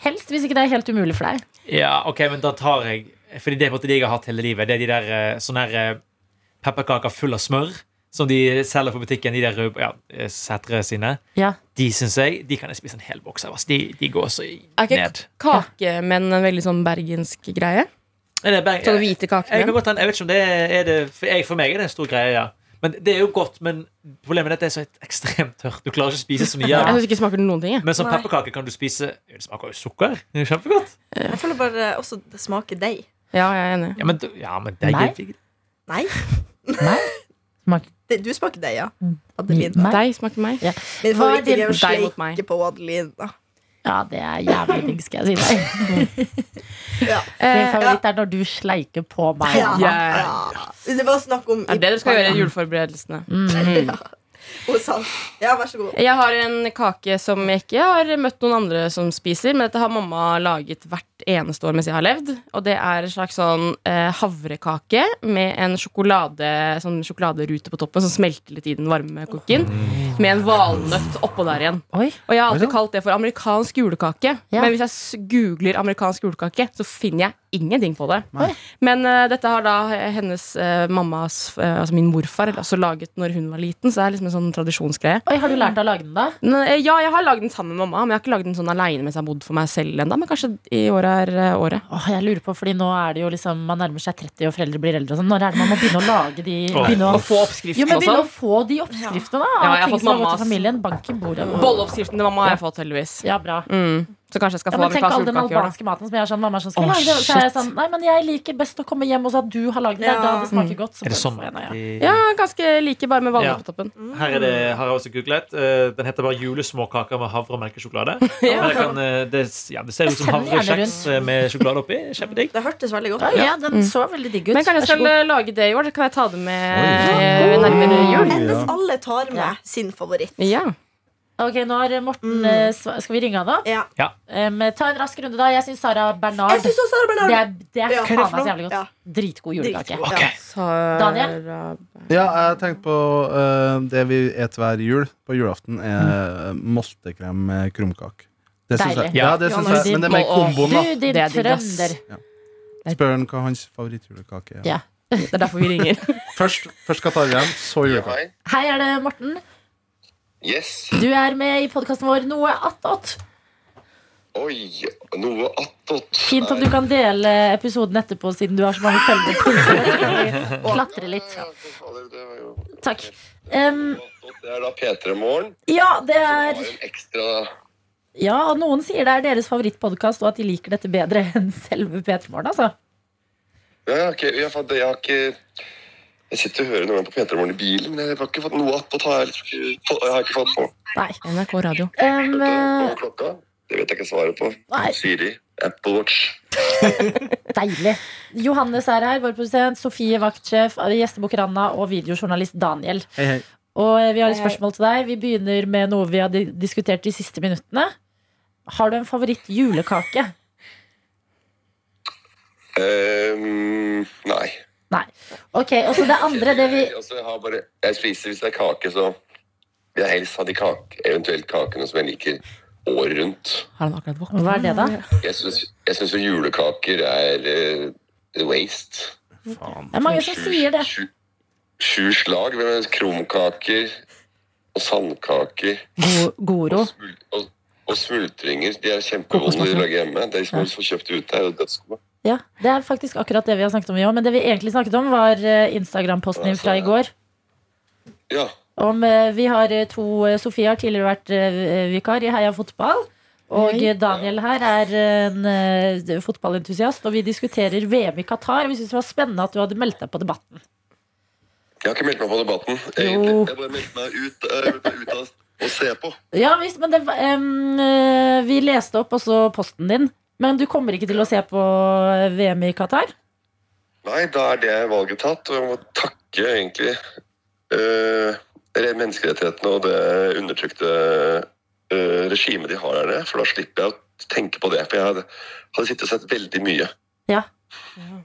Speaker 3: Helst, hvis ikke det er helt umulig for deg.
Speaker 2: Ja, ok, men da tar jeg Fordi det er på en måte de jeg har hatt hele livet. Det er de der eh, sånne her eh, pepperkaker full av smør som de selger på butikken. De der rød- ja, eh, Sætre sine.
Speaker 3: Ja.
Speaker 2: De syns jeg De kan jeg spise en hel boks av. ass. De, de går så i-
Speaker 4: Er ikke
Speaker 2: ned.
Speaker 4: kakemenn en veldig sånn bergensk greie?
Speaker 2: Nei, det er bare-
Speaker 4: Sånn hvite
Speaker 2: Jeg kan
Speaker 4: kakemenn?
Speaker 2: godt ta en, jeg vet ikke om det er, er det for, jeg, for meg er det en stor greie, ja. Men det er jo godt, men problemet er at det er så et- ekstremt tørt. Du klarer ikke å spise så mye.
Speaker 4: Jeg
Speaker 2: av det.
Speaker 4: syns ikke det smaker noen ting. Jeg.
Speaker 2: Men som
Speaker 5: Nei.
Speaker 2: pepperkake kan du spise Det smaker jo sukker. Det er jo kjempegodt.
Speaker 5: Jeg føler bare også det smaker deig.
Speaker 4: Ja, jeg er enig.
Speaker 2: Ja, men, du- ja, men det er
Speaker 3: Nei.
Speaker 2: digg.
Speaker 5: Nei,
Speaker 3: Nei? Smak-
Speaker 5: det, du smaker deig, ja.
Speaker 3: Nei.
Speaker 5: Adelina.
Speaker 4: Deg smaker meg.
Speaker 5: Min
Speaker 3: Hva er
Speaker 5: favoritt er
Speaker 3: din-
Speaker 5: å
Speaker 4: Deg mot meg.
Speaker 5: sleike på Adelina.
Speaker 3: Ja, det er jævlig digg, skal jeg si deg.
Speaker 5: Ja.
Speaker 3: Min
Speaker 4: Eh,
Speaker 3: favoritt er når du sleiker på meg.
Speaker 5: Ja.
Speaker 3: Anna.
Speaker 5: Ja. Det var snakk om
Speaker 4: er det det dere skal gjøre i juleforberedelsene?
Speaker 5: Hos han. Ja, vær så god.
Speaker 4: Jeg har en kake som jeg ikke har møtt noen andre som spiser, men dette har mamma laget hvert eneste år mens jeg har levd. Og det er en slags sånn eh, havrekake med en sjokolade, sånn sjokoladerute på toppen som smelter litt i den varme kokken. Med en valnøtt oppå der igjen.
Speaker 3: Oi.
Speaker 4: Og jeg har alltid kalt det for amerikansk julekake.
Speaker 3: Ja.
Speaker 4: Men hvis jeg s- googler amerikansk julekake, så finner jeg ingenting på det.
Speaker 3: Nei.
Speaker 4: Men eh, dette har da eh, hennes eh, mammas, eh, altså min morfar, altså laget når hun var liten. Så det er liksom en sånn tradisjonsgreie.
Speaker 3: Oi, har du lært å lage den, da?
Speaker 4: Nei, eh, ja, jeg har lagd den sammen med mamma, men jeg har ikke lagd den sånn aleine mens jeg har bodd for meg selv ennå. Men kanskje i året er eh, året.
Speaker 3: Åh, jeg lurer på, fordi nå er det jo liksom Man nærmer seg 30, og foreldre blir eldre. Og sånn. Når er det man må begynne å lage de
Speaker 2: Åh,
Speaker 3: begynne å,
Speaker 4: Og sånn. få oppskriften
Speaker 3: jo, men begynne å
Speaker 4: også.
Speaker 3: få de oppskriftene da,
Speaker 4: Ja,
Speaker 3: av
Speaker 4: jeg har
Speaker 3: ting
Speaker 4: fått
Speaker 3: som har gått
Speaker 4: mammas-
Speaker 3: til familien. Bank i bordet.
Speaker 4: Bolleoppskriften til mamma har jeg fått, heldigvis.
Speaker 3: Ja, bra.
Speaker 4: Mm. Så kanskje jeg skal
Speaker 3: Ja,
Speaker 4: få
Speaker 3: men tenk all
Speaker 4: amerikansk
Speaker 3: den
Speaker 4: julekake i år, da.
Speaker 3: albanske maten som jeg er sånn Mamma er sånn, skal jeg
Speaker 4: Åh,
Speaker 3: lage det? Så er jeg
Speaker 4: shit.
Speaker 3: sånn Nei, men jeg liker best å komme hjem og så at du har lagd det. Det er da det smaker godt. Så
Speaker 2: Er det
Speaker 3: bare
Speaker 2: sånn?
Speaker 3: får jeg det, ja.
Speaker 4: Ja, ganske like, bare med valnøtt
Speaker 2: Ja.
Speaker 4: på toppen.
Speaker 2: Her er det, har jeg også googlet. Eh, Den heter bare julesmåkaker med havre og melkesjokolade. Men det, kan, eh, det, ja, det ser ut som
Speaker 3: Send gjerne
Speaker 2: havrekjeks eh, med sjokolade oppi. Kjempedigg.
Speaker 5: Det hørtes veldig godt
Speaker 3: Ja,
Speaker 5: ut.
Speaker 3: ja, den så veldig digg ut.
Speaker 4: Men kanskje
Speaker 3: Vær
Speaker 4: jeg
Speaker 3: så
Speaker 4: skal
Speaker 3: god.
Speaker 4: eh, lage det i år? Kan jeg ta det med
Speaker 6: Oi.
Speaker 4: eh, nærmere jul?
Speaker 5: Hennes alle tar med sin favoritt.
Speaker 4: Ja.
Speaker 3: Ok, nå har Morten
Speaker 5: Mm.
Speaker 3: eh, sva- Skal vi ringe han da?
Speaker 5: Ja.
Speaker 3: Um, ta en rask runde, da. Jeg syns Sara
Speaker 5: Jeg
Speaker 3: Bernard
Speaker 5: syns også Sara
Speaker 3: Det
Speaker 5: Bernard
Speaker 3: er, det er
Speaker 5: Ja.
Speaker 3: faen meg
Speaker 5: Hva er det for
Speaker 3: så
Speaker 5: noe?
Speaker 3: jævlig godt.
Speaker 5: Ja.
Speaker 3: Dritgod julekake.
Speaker 5: Dritgod.
Speaker 2: Ok.
Speaker 3: Daniel?
Speaker 6: Ja, jeg tenkte på eh, det vi et hver jul på julaften, er eh, moltekrem med krumkake. Det syns jeg.
Speaker 3: Deilig.
Speaker 6: Ja, det synes jeg. Men det er mer komboen,
Speaker 3: Du,
Speaker 6: da.
Speaker 3: din
Speaker 4: Det er digg, ass.
Speaker 3: trønder.
Speaker 6: Spør han hva hans favorittjulekake er.
Speaker 3: Ja.
Speaker 4: Det er derfor vi ringer.
Speaker 6: Først, først Katarhjem, så julekake.
Speaker 3: Hei, er det Morten?
Speaker 9: Yes.
Speaker 3: Du er med i podkasten vår Noe attåt.
Speaker 9: Oi, noe attåt.
Speaker 3: Fint om du kan dele episoden etterpå, siden du har så mange følgere. på Instagram, så kan vi Klatre litt.
Speaker 9: Ja, for fader, det var jo-
Speaker 3: Takk. Um,
Speaker 9: Attåt, Det er da P3 Morgen.
Speaker 3: ja, det
Speaker 9: Har
Speaker 3: er
Speaker 9: en ekstra
Speaker 3: Ja, og noen sier det er deres favorittpodkast, og at de liker dette bedre enn selve P3 Morgen, altså.
Speaker 9: Ja, ok, jeg, fant, jeg har ikke Jeg sitter og hører noen ganger på P3 Morgen i bilen, men jeg har ikke fått noe attåt. Har jeg, liksom ikke fått- jeg har ikke fått på.
Speaker 3: Nei.
Speaker 4: NRK Radio.
Speaker 3: Um,
Speaker 9: Hva
Speaker 3: eh,
Speaker 9: er klokka? Det vet jeg ikke svaret på.
Speaker 3: Nei.
Speaker 9: Siri. Apple Watch.
Speaker 3: Deilig. Johannes er her, vår produsent. Sofie, vaktsjef. Gjestebooker Anna og videojournalist Daniel.
Speaker 6: Hei, hei.
Speaker 3: Og eh, vi har et
Speaker 4: Hei, hei.
Speaker 3: spørsmål til deg. Vi begynner med noe vi har di- diskutert de siste minuttene. Har du en favoritt julekake?
Speaker 9: Ehm, nei.
Speaker 3: Nei. Ok, og så det andre, det vi
Speaker 9: Jeg- altså, jeg, har bare, jeg spiser hvis det er kake, så vil jeg helst ha de kake, eventuelt kakene som jeg liker året rundt.
Speaker 4: Har han akkurat våknet?
Speaker 3: Hva er det, da?
Speaker 9: Jeg syns- Jeg syns jo julekaker er eh, waste.
Speaker 6: Faen.
Speaker 3: Det er mange som
Speaker 9: Sju-
Speaker 3: sier det.
Speaker 9: sju- Sju slag med krumkaker og sandkaker
Speaker 3: Go- Goro.
Speaker 9: og, smul og, og smultringer. De er kjempevonde
Speaker 3: Kokosmuffins.
Speaker 9: de lager hjemme. De som
Speaker 3: Ja.
Speaker 9: får kjøpt ute, er jo dødsgode.
Speaker 3: Ja, Det er faktisk akkurat det vi har snakket om, vi òg. Men det vi egentlig snakket om, var eh, Instagram-posten din fra i går.
Speaker 9: Ja.
Speaker 3: Om eh, vi har eh, to eh, Sofie har tidligere vært eh, vikar i Heia fotball. Og
Speaker 4: Hei.
Speaker 3: eh, Daniel her er en eh, fotballentusiast, og vi diskuterer VM i Qatar. Vi syntes det var spennende at du hadde meldt deg på debatten.
Speaker 9: Jeg har ikke meldt meg på debatten, egentlig. Jeg bare meldte meg ut, eh, meldte meg ut av å se på.
Speaker 3: Ja visst, men det, var- em, eh, vi leste opp også posten din. Men du kommer ikke til å se på VM i Qatar?
Speaker 9: Nei, da er det valget tatt, og jeg må takke egentlig eh, menneskerettighetene og det undertrykte eh, regimet de har der nede, for da slipper jeg å tenke på det. For jeg hadde, hadde sittet og sett veldig mye.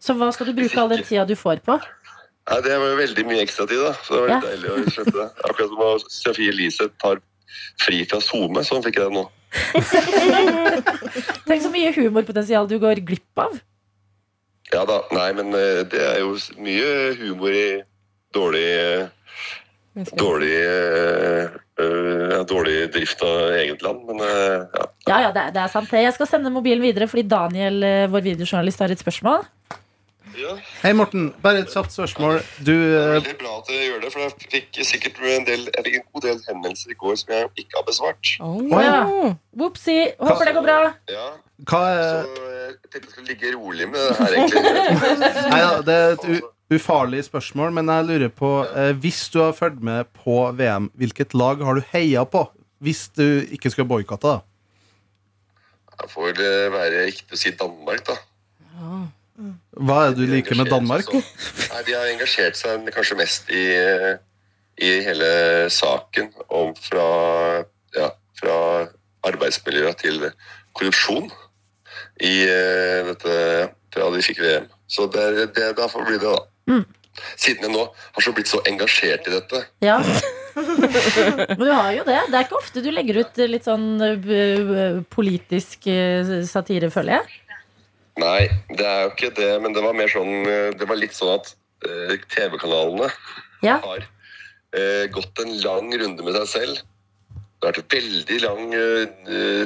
Speaker 3: Så hva skal du bruke all den tida du får på?
Speaker 9: Nei, Det var jo veldig mye ekstratid, da. Så det var litt deilig å slette det. Akkurat som at Sofie Elise tar fri fra SoMe, sånn fikk jeg det nå.
Speaker 3: Tenk så mye humorpotensial du går glipp av.
Speaker 9: Ja da. Nei, men eh, det er jo s- mye humor i dårlig eh, Dårlig, eh, eh, ja, dårlig drift av eget land, men eh, ja.
Speaker 3: Ja, ja, det er, det er sant. det. Jeg skal sende mobilen videre fordi Daniel, eh, vår videojournalist, har et spørsmål.
Speaker 9: ja.
Speaker 6: Hei, Morten. Bare et kjapt spørsmål. Du
Speaker 9: Det er
Speaker 6: eh,
Speaker 9: veldig bra at dere gjør det, for jeg fikk sikkert en, del, jeg fikk en god del henvendelser i går som jeg ikke har besvart.
Speaker 4: Oh.
Speaker 6: Oi.
Speaker 3: Ja. Whoopsie. Håper det går bra.
Speaker 9: Ja,
Speaker 6: Hva eh,
Speaker 9: så
Speaker 6: er
Speaker 9: jeg tenkte jeg skulle ligge rolig med det her, egentlig.
Speaker 6: Nei, ja, det er et u ufarlig spørsmål, men jeg lurer på eh, Hvis du har fulgt med på VM, hvilket lag har du heia på? Hvis du ikke skulle boikotta, da.
Speaker 9: Jeg får vel eh, være riktig å si Danmark, da.
Speaker 6: Hva er det du
Speaker 9: De
Speaker 6: liker med
Speaker 9: engasjerer
Speaker 6: Danmark?
Speaker 9: seg sånn. Nei, De har engasjert seg kanskje mest i, eh, i hele saken om fra, ja, fra arbeidsmiljøet til korrupsjon i eh, dette fra de fikk VM. Så det, er- det, derfor blir det, da. Siden jeg nå har så blitt så engasjert i dette.
Speaker 3: Ja. Men du har jo det. Det er ikke ofte du legger ut eh, litt sånn eh, b- b- politisk eh, satire, føler jeg.
Speaker 9: Nei, det er jo ikke det, men det var mer sånn eh, Det var litt sånn at eh, TV-kanalene
Speaker 3: Ja.
Speaker 9: har eh, gått en lang runde med seg selv. Det har vært en veldig lang eh, eh,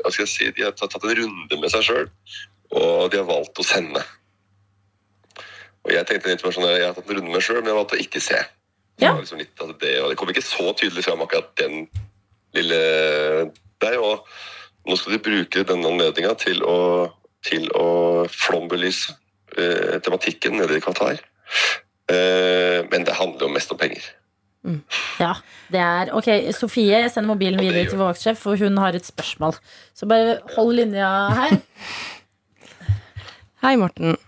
Speaker 9: Hva skal jeg si De har tatt, tatt en runde med seg sjøl, og de har valgt å sende. Og jeg tenkte litt mer sånn, jeg har tatt en runde med meg sjøl, men jeg har valgt å ikke se. Så
Speaker 3: Ja.
Speaker 9: det var liksom litt, altså det, og det kom ikke så tydelig fram akkurat den lille der. Og nå skal de bruke denne anledninga til å, til å flombelyse eh, tematikken nede i Qatar. Eh, men det handler jo mest om penger.
Speaker 3: Ja, det er Ok, Sofie, jeg sender mobilen
Speaker 9: Ja, det
Speaker 3: videre
Speaker 9: gjør
Speaker 3: til vår vaktsjef, for hun har et spørsmål. Så bare hold linja her.
Speaker 4: Hei, Morten.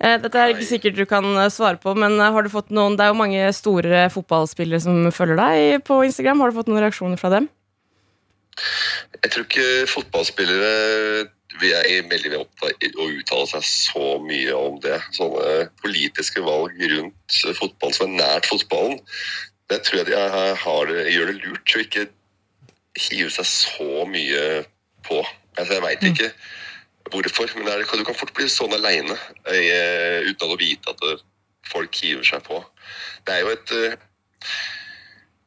Speaker 4: Eh, Dette er ikke
Speaker 9: Hei.
Speaker 4: sikkert du kan eh, svare på, men eh, har du fått noen, det er jo mange store fotballspillere som følger deg på Instagram. Har du fått noen reaksjoner fra dem?
Speaker 9: Jeg tror ikke fotballspillere vi er veldig opptatt av å uttale seg så mye om det. Sånne politiske valg rundt fotball som er nært fotballen. Det tror jeg de er- har det, gjør det lurt å ikke hive seg så mye på. Altså, jeg veit ikke hvorfor, men det er, du kan fort bli sånn aleine uten å vite at eh, folk hiver seg på. Det er jo et eh,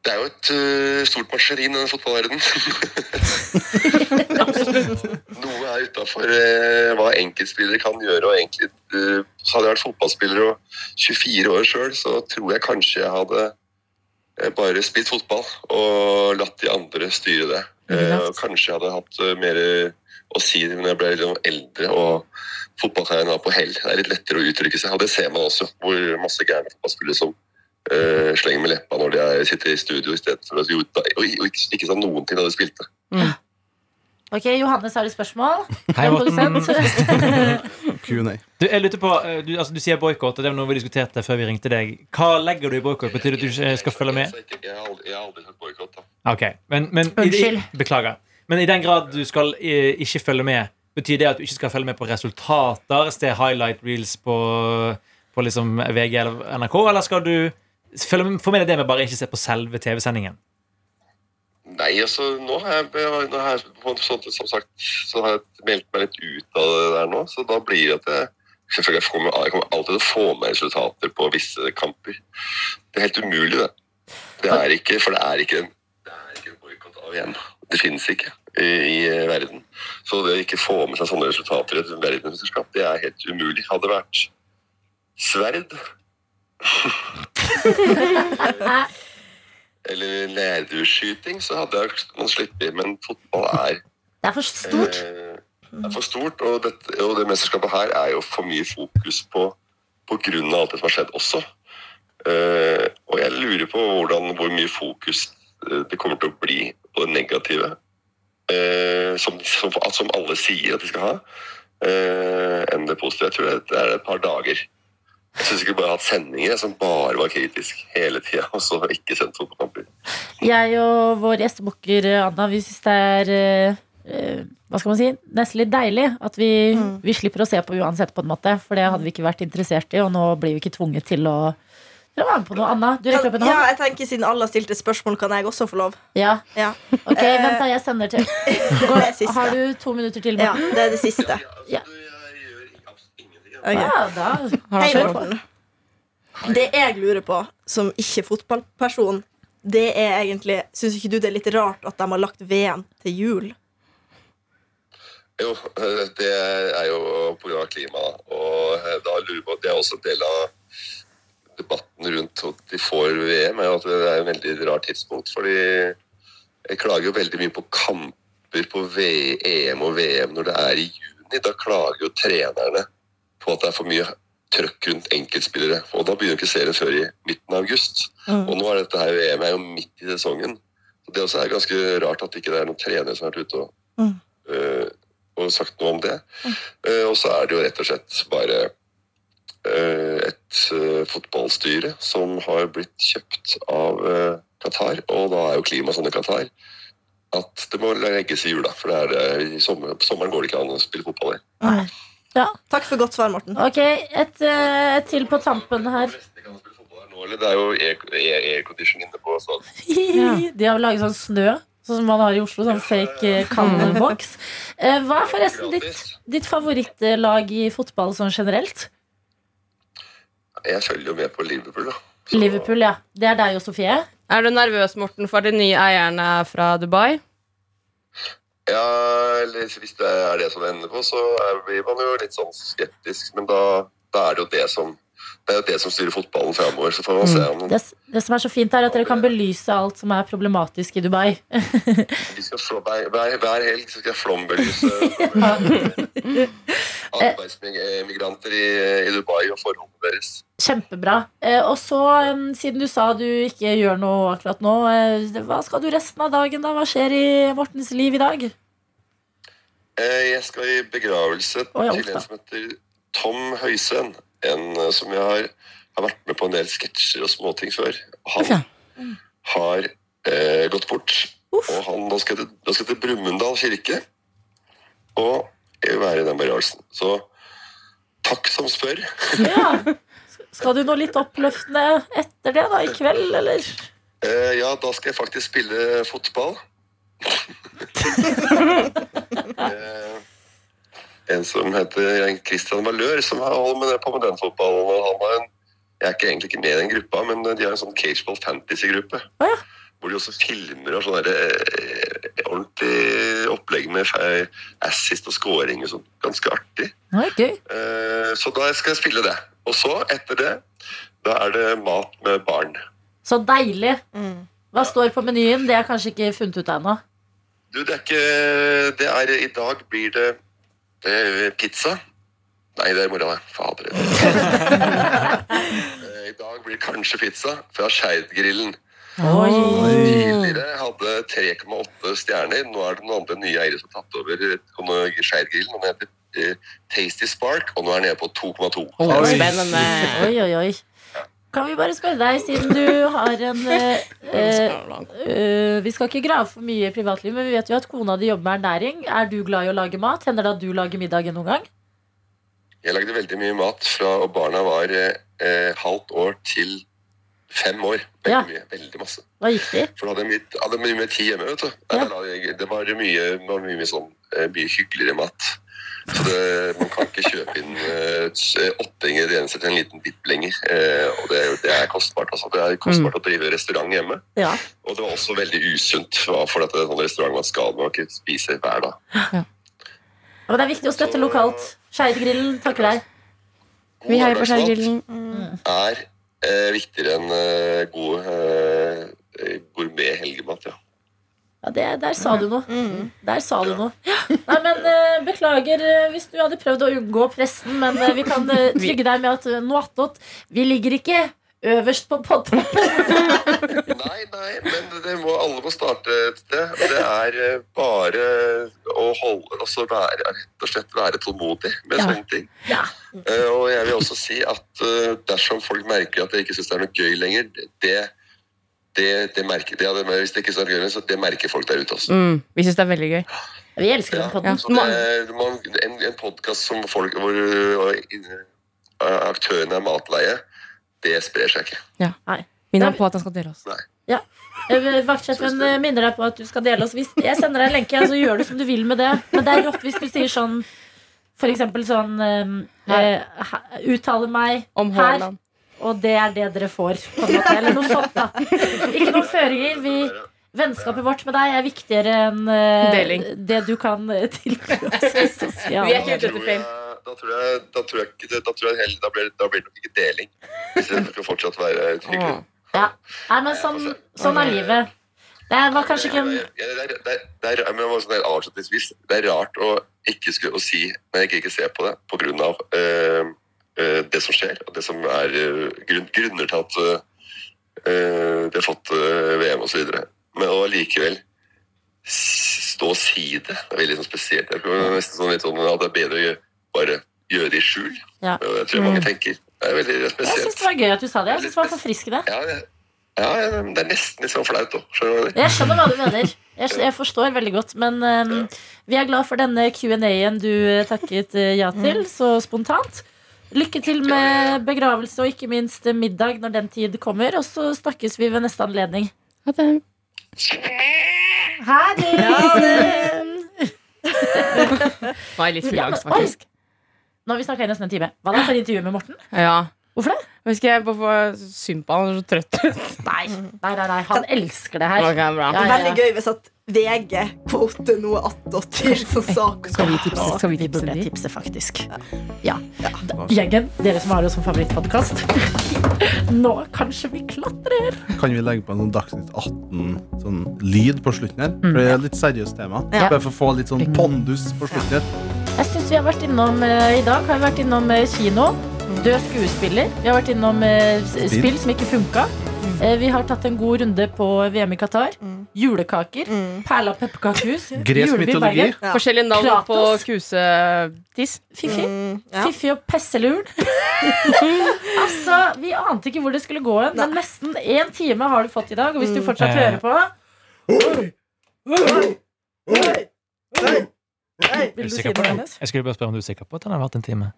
Speaker 9: det er jo et eh, stort maskineri, denne fotballverdenen. noe er utafor hva enkeltspillere kan gjøre. og egentlig, eh, så Hadde jeg vært fotballspiller og 24 år sjøl, så tror jeg kanskje jeg hadde eh, bare spilt fotball og latt de andre styre det. Eh, og kanskje jeg hadde hatt eh, mer å si når jeg ble litt sånn eldre og fotballkarrieren var på hell. Det er litt lettere å uttrykke seg, og det ser man også. Hvor masse gærne fotballspillere som eh, slenger med leppa når de er, sitter i studio istedenfor å jo, da- og- og ikke, ikke sa noen ting da de spilte.
Speaker 3: Ok, Johannes har et spørsmål.
Speaker 2: Hei, Morten.
Speaker 3: Produsent.
Speaker 6: Q&A.
Speaker 2: Du, jeg lurer på, eh, du, altså, du sier boikott, og det var noe vi diskuterte før vi ringte deg. Hva legger du i boikott? Betyr det at du ikke eh, skal følge med?
Speaker 9: Jeg, jeg, har aldri- jeg har aldri sett boikott, da.
Speaker 2: Ok, men, men i-
Speaker 3: Unnskyld.
Speaker 2: i- Beklager. Men i den grad du skal eh, ikke følge med, betyr det at du ikke skal følge med på resultater? Se highlight reels på, på liksom VG eller NRK? Eller skal du følge med, få med deg det med bare ikke se på selve TV-sendingen?
Speaker 9: Nei, altså, nå har jeg, nå har jeg på en sånn, som sagt, så har jeg meldt meg litt ut av det der nå, så da blir det at jeg selvfølgelig jeg kommer, jeg kommer alltid til å få med resultater på visse kamper. Det er helt umulig, det. Det er ikke, for det er ikke en, det er ikke en boikott av igjen. Det finnes ikke i, i eh, verden. Så det å ikke få med seg sånne resultater i et verdensmesterskap, det er helt umulig. Hadde det vært sverd eller lærdueskyting, så hadde jeg, man sluppet, men fotball er
Speaker 3: Det er for stort.
Speaker 9: Eh, Det er for stort, og, dette, og det mesterskapet her er jo for mye fokus på, på grunn av alt det som har skjedd også. Eh, og jeg lurer på hvordan, hvor mye fokus eh, det kommer til å bli på det negative. eh, som, som, som alle sier at de skal ha, eh, enn det positive. Jeg tror det, det er et par dager. Jeg syns ikke vi bare har hatt sendinger som bare var kritisk hele tida, og så ikke sendt fotballkamper.
Speaker 3: Jeg og vår gjestebukker eh, Anna, vi syns det er eh, eh, hva skal man si? Nesten litt deilig at vi,
Speaker 5: Mm.
Speaker 3: vi slipper å se på uansett, på en måte. For det hadde vi ikke vært interessert i, og nå blir vi ikke tvunget til å til å være med på noe annet. Du rekker opp en
Speaker 5: Ja,
Speaker 3: hånd?
Speaker 5: jeg tenker Siden alle har stilt et spørsmål, kan jeg også få lov.
Speaker 3: Ja.
Speaker 5: Ja,
Speaker 3: Ok, vent, da. Jeg sender til.
Speaker 5: Eh. Det er siste.
Speaker 3: Har du to minutter til,
Speaker 5: ja
Speaker 3: Morten?
Speaker 5: det er det siste.
Speaker 3: Ja.
Speaker 9: altså, Jeg gjør absolutt ingenting.
Speaker 5: Ok.
Speaker 3: Ja, da har
Speaker 5: Hei,
Speaker 3: han kjørt på.
Speaker 5: Morten. Det jeg lurer på, som ikke-fotballperson, det er egentlig Syns ikke du det er litt rart at de har lagt VM til jul?
Speaker 9: Jo, eh, det er jo pga. klimaet. Og eh, da lurer jeg på, det er også en del av debatten rundt at de får VM. er jo at Det er et veldig rart tidspunkt. fordi jeg klager jo veldig mye på kamper på V- EM og VM når det er i juni. Da klager jo trenerne på at det er for mye trøkk rundt enkeltspillere. Og da begynner jo ikke serien før i midten av august. Og nå er dette her VM er jo midt i sesongen. Så det også er ganske rart at ikke det er noen trenere som har vært ute og
Speaker 5: Mm.
Speaker 9: eh, og sagt noe om det.
Speaker 3: Mm.
Speaker 9: Eh, og så er det jo rett og slett bare eh, et eh, fotballstyre som har blitt kjøpt av eh, Qatar, og da er jo klimaet sånn i Qatar at det må legges i jula. For det er, eh, i sommer, på sommeren går det ikke an å spille fotball der.
Speaker 5: Takk for godt svar, Morten.
Speaker 3: Ok, et eh, til på tampen her.
Speaker 9: Det kan spille fotball der nå, eller? Det er jo air- air- aircondition inne på stadion.
Speaker 3: De har laget sånn snø, sånn som man har i Oslo. Sånn fake eh, kaldboks. Eh, Hva er forresten ditt, ditt favorittlag i fotball sånn generelt?
Speaker 9: Jeg følger jo med på Liverpool, da. Så-
Speaker 3: Liverpool, ja. Det er deg og Sofie.
Speaker 4: Er du nervøs, Morten, for at de nye eierne er fra Dubai?
Speaker 9: Ja, eller hvis det er det som det ender på, så er- blir man jo litt sånn skeptisk. Men da, da er det jo det som det er jo det som styrer fotballen framover. Så får man se om
Speaker 3: Det, det som er så fint, er at dere kan belyse alt som er problematisk i Dubai.
Speaker 9: vi skal flå, hver, hver, hver helg så skal jeg flombelyse arbeidsmigranter i, i Dubai og forholdene deres.
Speaker 3: Kjempebra. Eh, Og så, eh, siden du sa du ikke gjør noe akkurat nå, eh, hva skal du resten av dagen, da? Hva skjer i Mortens liv i dag?
Speaker 9: Eh, Jeg skal i begravelse
Speaker 3: Oi, alt
Speaker 9: til
Speaker 3: da.
Speaker 9: en som heter Tom Høisven. En eh, som jeg har, har vært med på en del sketsjer og småting før. Han
Speaker 3: Ja.
Speaker 9: har eh, gått bort. Og han, da skal jeg til, da skal jeg til Brumunddal kirke og jeg vil være i den berørelsen. Så takk som spør.
Speaker 3: Ja. Skal du noe litt oppløftende etter det, da? I kveld, eller?
Speaker 9: Eh, ja, da skal jeg faktisk spille fotball. eh, en som heter Christian Valør, som har holdt med det på med den fotballen. og Han har en, jeg er ikke egentlig ikke med i den gruppa, men de har en sånn cageball fantasy-gruppe.
Speaker 3: Å ja.
Speaker 9: Hvor de også filmer og sånn der, eh, ordentlig opplegg med fe- assist og scoring og sånn. Ganske artig.
Speaker 3: Nei, gøy.
Speaker 9: Eh, så da skal jeg spille det. Og så, etter det, da er det mat med barn.
Speaker 3: Så deilig.
Speaker 5: Mm.
Speaker 3: Hva står på menyen? Det er kanskje ikke funnet ut ennå.
Speaker 9: Du, det er ikke Det er I dag blir det, det er pizza. Nei, det er i morgen, det. Fader. Eh, I dag blir det kanskje pizza fra Skeidgrillen. Tidligere hadde 3,8 stjerner. Nå er det noen andre nye eiere som har tatt over Skeidgrillen. Den heter eh, Tasty Spark, og nå er den nede på 2,2.
Speaker 2: Oi.
Speaker 4: Spennende.
Speaker 3: Oi, oi, oi. Kan vi bare spørre deg, siden du har en eh, eh, eh, Vi skal ikke grave for mye i privatlivet, men vi vet jo at kona di jobber med ernæring. Er du glad i å lage mat? Hender det at du lager middag noen gang?
Speaker 9: Jeg lagde veldig mye mat fra og barna var eh, eh, halvt år til fem år. Veldig
Speaker 3: Ja.
Speaker 9: mye. Veldig masse.
Speaker 3: Hva gikk det i?
Speaker 9: For da hadde jeg mye, hadde jeg mye mer tid hjemme, vet du. Nei,
Speaker 3: Ja.
Speaker 9: da la jeg- Det var mye, var mye, mye sånn eh, mye hyggeligere mat. Så det, man kan ikke kjøpe inn eh, s- eh, åtte ingredienser til en liten bipp lenger. Eh, og det, er- det er kostbart, altså. Det er
Speaker 4: Mm.
Speaker 9: kostbart å drive restaurant hjemme.
Speaker 3: Ja.
Speaker 9: Og det var også veldig usunt, hva- for at det er en sånn restaurant man skal man ikke spise hver dag.
Speaker 3: Ja, Men det er viktig å støtte lokalt. Skeidgrillen takker deg.
Speaker 9: God
Speaker 4: Vi heier på
Speaker 9: hverdagsmat
Speaker 4: Skjærgrillen.
Speaker 9: Er eh, viktigere enn eh, god eh, eh, gourmet-helgemat, ja.
Speaker 3: Ja, det, der sa du noe.
Speaker 5: Mm.
Speaker 3: Der sa du noe. Nei, men eh, Beklager eh, hvis du hadde prøvd å unngå pressen, men eh, vi kan eh, trygge deg med at eh, noe attåt Vi ligger ikke øverst på podtoppen.
Speaker 9: Nei, nei, men det må alle må starte et sted. og Det er eh, bare å holde altså være, rett og slett være tålmodig med
Speaker 3: Ja.
Speaker 9: sånne ting.
Speaker 3: Ja.
Speaker 9: Eh, og jeg vil også si at eh, dersom folk merker at jeg ikke syns det er noe gøy lenger, det, det, det merker det, hadde- hvis det ikke synes det er gøy lenger, så det merker folk der ute også.
Speaker 4: Mm, vi syns det er veldig gøy.
Speaker 3: Vi elsker den podden.
Speaker 9: Så det, er- man, en en podkast som folk hvor eh, in- eh, aktørene er matleie, det sprer seg ikke.
Speaker 4: Minn ham på at han skal dele oss.
Speaker 3: Eh, Vaktsjefen eh, minner deg på at du skal dele oss. Hvis jeg sender deg en lenke, og så gjør du som du vil med det. Men det er rått hvis du sier sånn for eksempel sånn eh, eh, he- Uttaler meg
Speaker 4: Om
Speaker 3: her,
Speaker 4: Haaland.
Speaker 3: og det er det dere får. På en måte, eller noe sånt, da. Ikke noen føringer. Vi, vennskapet vårt med deg er viktigere enn eh,
Speaker 4: Deling.
Speaker 3: det du kan eh, tilby oss i sosiale
Speaker 4: Vi er ikke ute
Speaker 9: Da tror
Speaker 4: etter
Speaker 9: jeg-
Speaker 4: fame.
Speaker 9: Da tror jeg, da tror jeg ikke det- Da, tror jeg heller, da, blir, da blir det nok ikke deling. Hvis det skal fortsatt være hyggelig.
Speaker 3: Nei, men sånn, sånn er livet. Det var kanskje ikke en
Speaker 9: det, er- det, er- det, er- det er- men bare sånn der avslutningsvis, det er rart å ikke skulle å si Når jeg ikke- ikke ser på det på grunn av øh, øh, det som skjer, og det som er øh, grunn, grunner til at øh, øh, de har fått øh, VM osv. Men å allikevel s- stå og si det, det er veldig sånn spesielt. Jeg tror det er nesten sånn litt sånn at det er bedre å gjøre, bare gjøre det i skjul.
Speaker 3: Ja. Mm.
Speaker 9: Det er jo det jeg tror mange tenker. Det er veldig
Speaker 3: Jeg syns
Speaker 9: spesielt.
Speaker 3: det var gøy at du sa det. Jeg syns det var forfriskende.
Speaker 9: Ja, ja, ja, ja, men det er nesten litt sånn flaut òg. Skjønner du hva jeg mener?
Speaker 3: Jeg skjønner hva du mener. Jeg, skj- jeg forstår veldig godt. Men eh, vi er glad for denne Q&A-en du eh, takket eh, ja
Speaker 4: Mm.
Speaker 3: til så spontant. Lykke til med begravelse og ikke minst eh, middag når den tid kommer. Og så snakkes vi ved neste anledning.
Speaker 4: Ha det.
Speaker 3: Ha det!
Speaker 4: Nå er jeg litt
Speaker 3: Ja, men-
Speaker 4: fullangst, faktisk.
Speaker 3: Nå har vi snakka i nesten en time. Hva da for intervjuet med Morten?
Speaker 4: Ja.
Speaker 3: Hvorfor det?
Speaker 4: Jeg husker jeg bare får synd på han, han er så trøtt.
Speaker 3: Nei, nei, nei, nei. han elsker det her.
Speaker 4: Ok,
Speaker 3: Ja,
Speaker 4: bra.
Speaker 3: ja,
Speaker 5: Veldig
Speaker 3: ja.
Speaker 5: gøy hvis at VG kvoter noe attåtil som sak.
Speaker 4: Skal vi tipse, skal vi
Speaker 3: Vi
Speaker 4: tipse
Speaker 3: burde
Speaker 4: de?
Speaker 3: tipse, faktisk. Ja. Da- Gjengen, dere som har oss som favorittpodkast. Nå kanskje vi klatrer.
Speaker 6: Kan vi legge på noen Dagsnytt 18 sånn lyd på slutten her? For det er
Speaker 3: Mm.
Speaker 6: litt seriøst tema.
Speaker 5: Ja.
Speaker 6: Bare for å få litt sånn pondus på slutten her.
Speaker 3: Jeg synes vi har vært innom eh, I dag har vi vært innom eh, kino Død skuespiller Vi har vært innom eh, s-
Speaker 6: Spill.
Speaker 3: spill som ikke funket Eh, Vi har tatt en god runde på eh, VM i Qatar Julekaker Perla pepperkakehus
Speaker 6: Gresk
Speaker 3: juleby i
Speaker 6: mytologi.
Speaker 3: Bergen.
Speaker 5: Ja.
Speaker 4: Forskjellige navn på
Speaker 3: Kratos.
Speaker 4: kusetiss.
Speaker 3: Fifi
Speaker 5: Mm, ja.
Speaker 3: Fiffi og pesseluren. altså, Vi ante ikke
Speaker 2: Mm.
Speaker 3: hvor det skulle gå hen, men nesten én time har du fått i dag. Og hvis du fortsatt
Speaker 2: Eh.
Speaker 3: hører på
Speaker 2: Er
Speaker 4: Vil
Speaker 2: du
Speaker 4: du si
Speaker 2: sikker
Speaker 4: det,
Speaker 2: på det?
Speaker 4: Johannes?
Speaker 2: Jeg skulle bare spørre om du er sikker på at den har vært en time.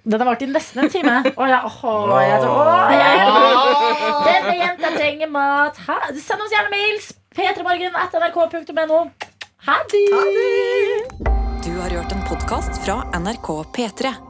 Speaker 3: Den har vart i nesten en time. Å, ja. Åh, jeg, åh, jeg,
Speaker 2: Ah!
Speaker 3: denne jenta trenger mat. Hæ? Send oss gjerne mails. p3morgen.nrk.no. Ha det!
Speaker 1: Du har hørt en podkast fra NRK P3.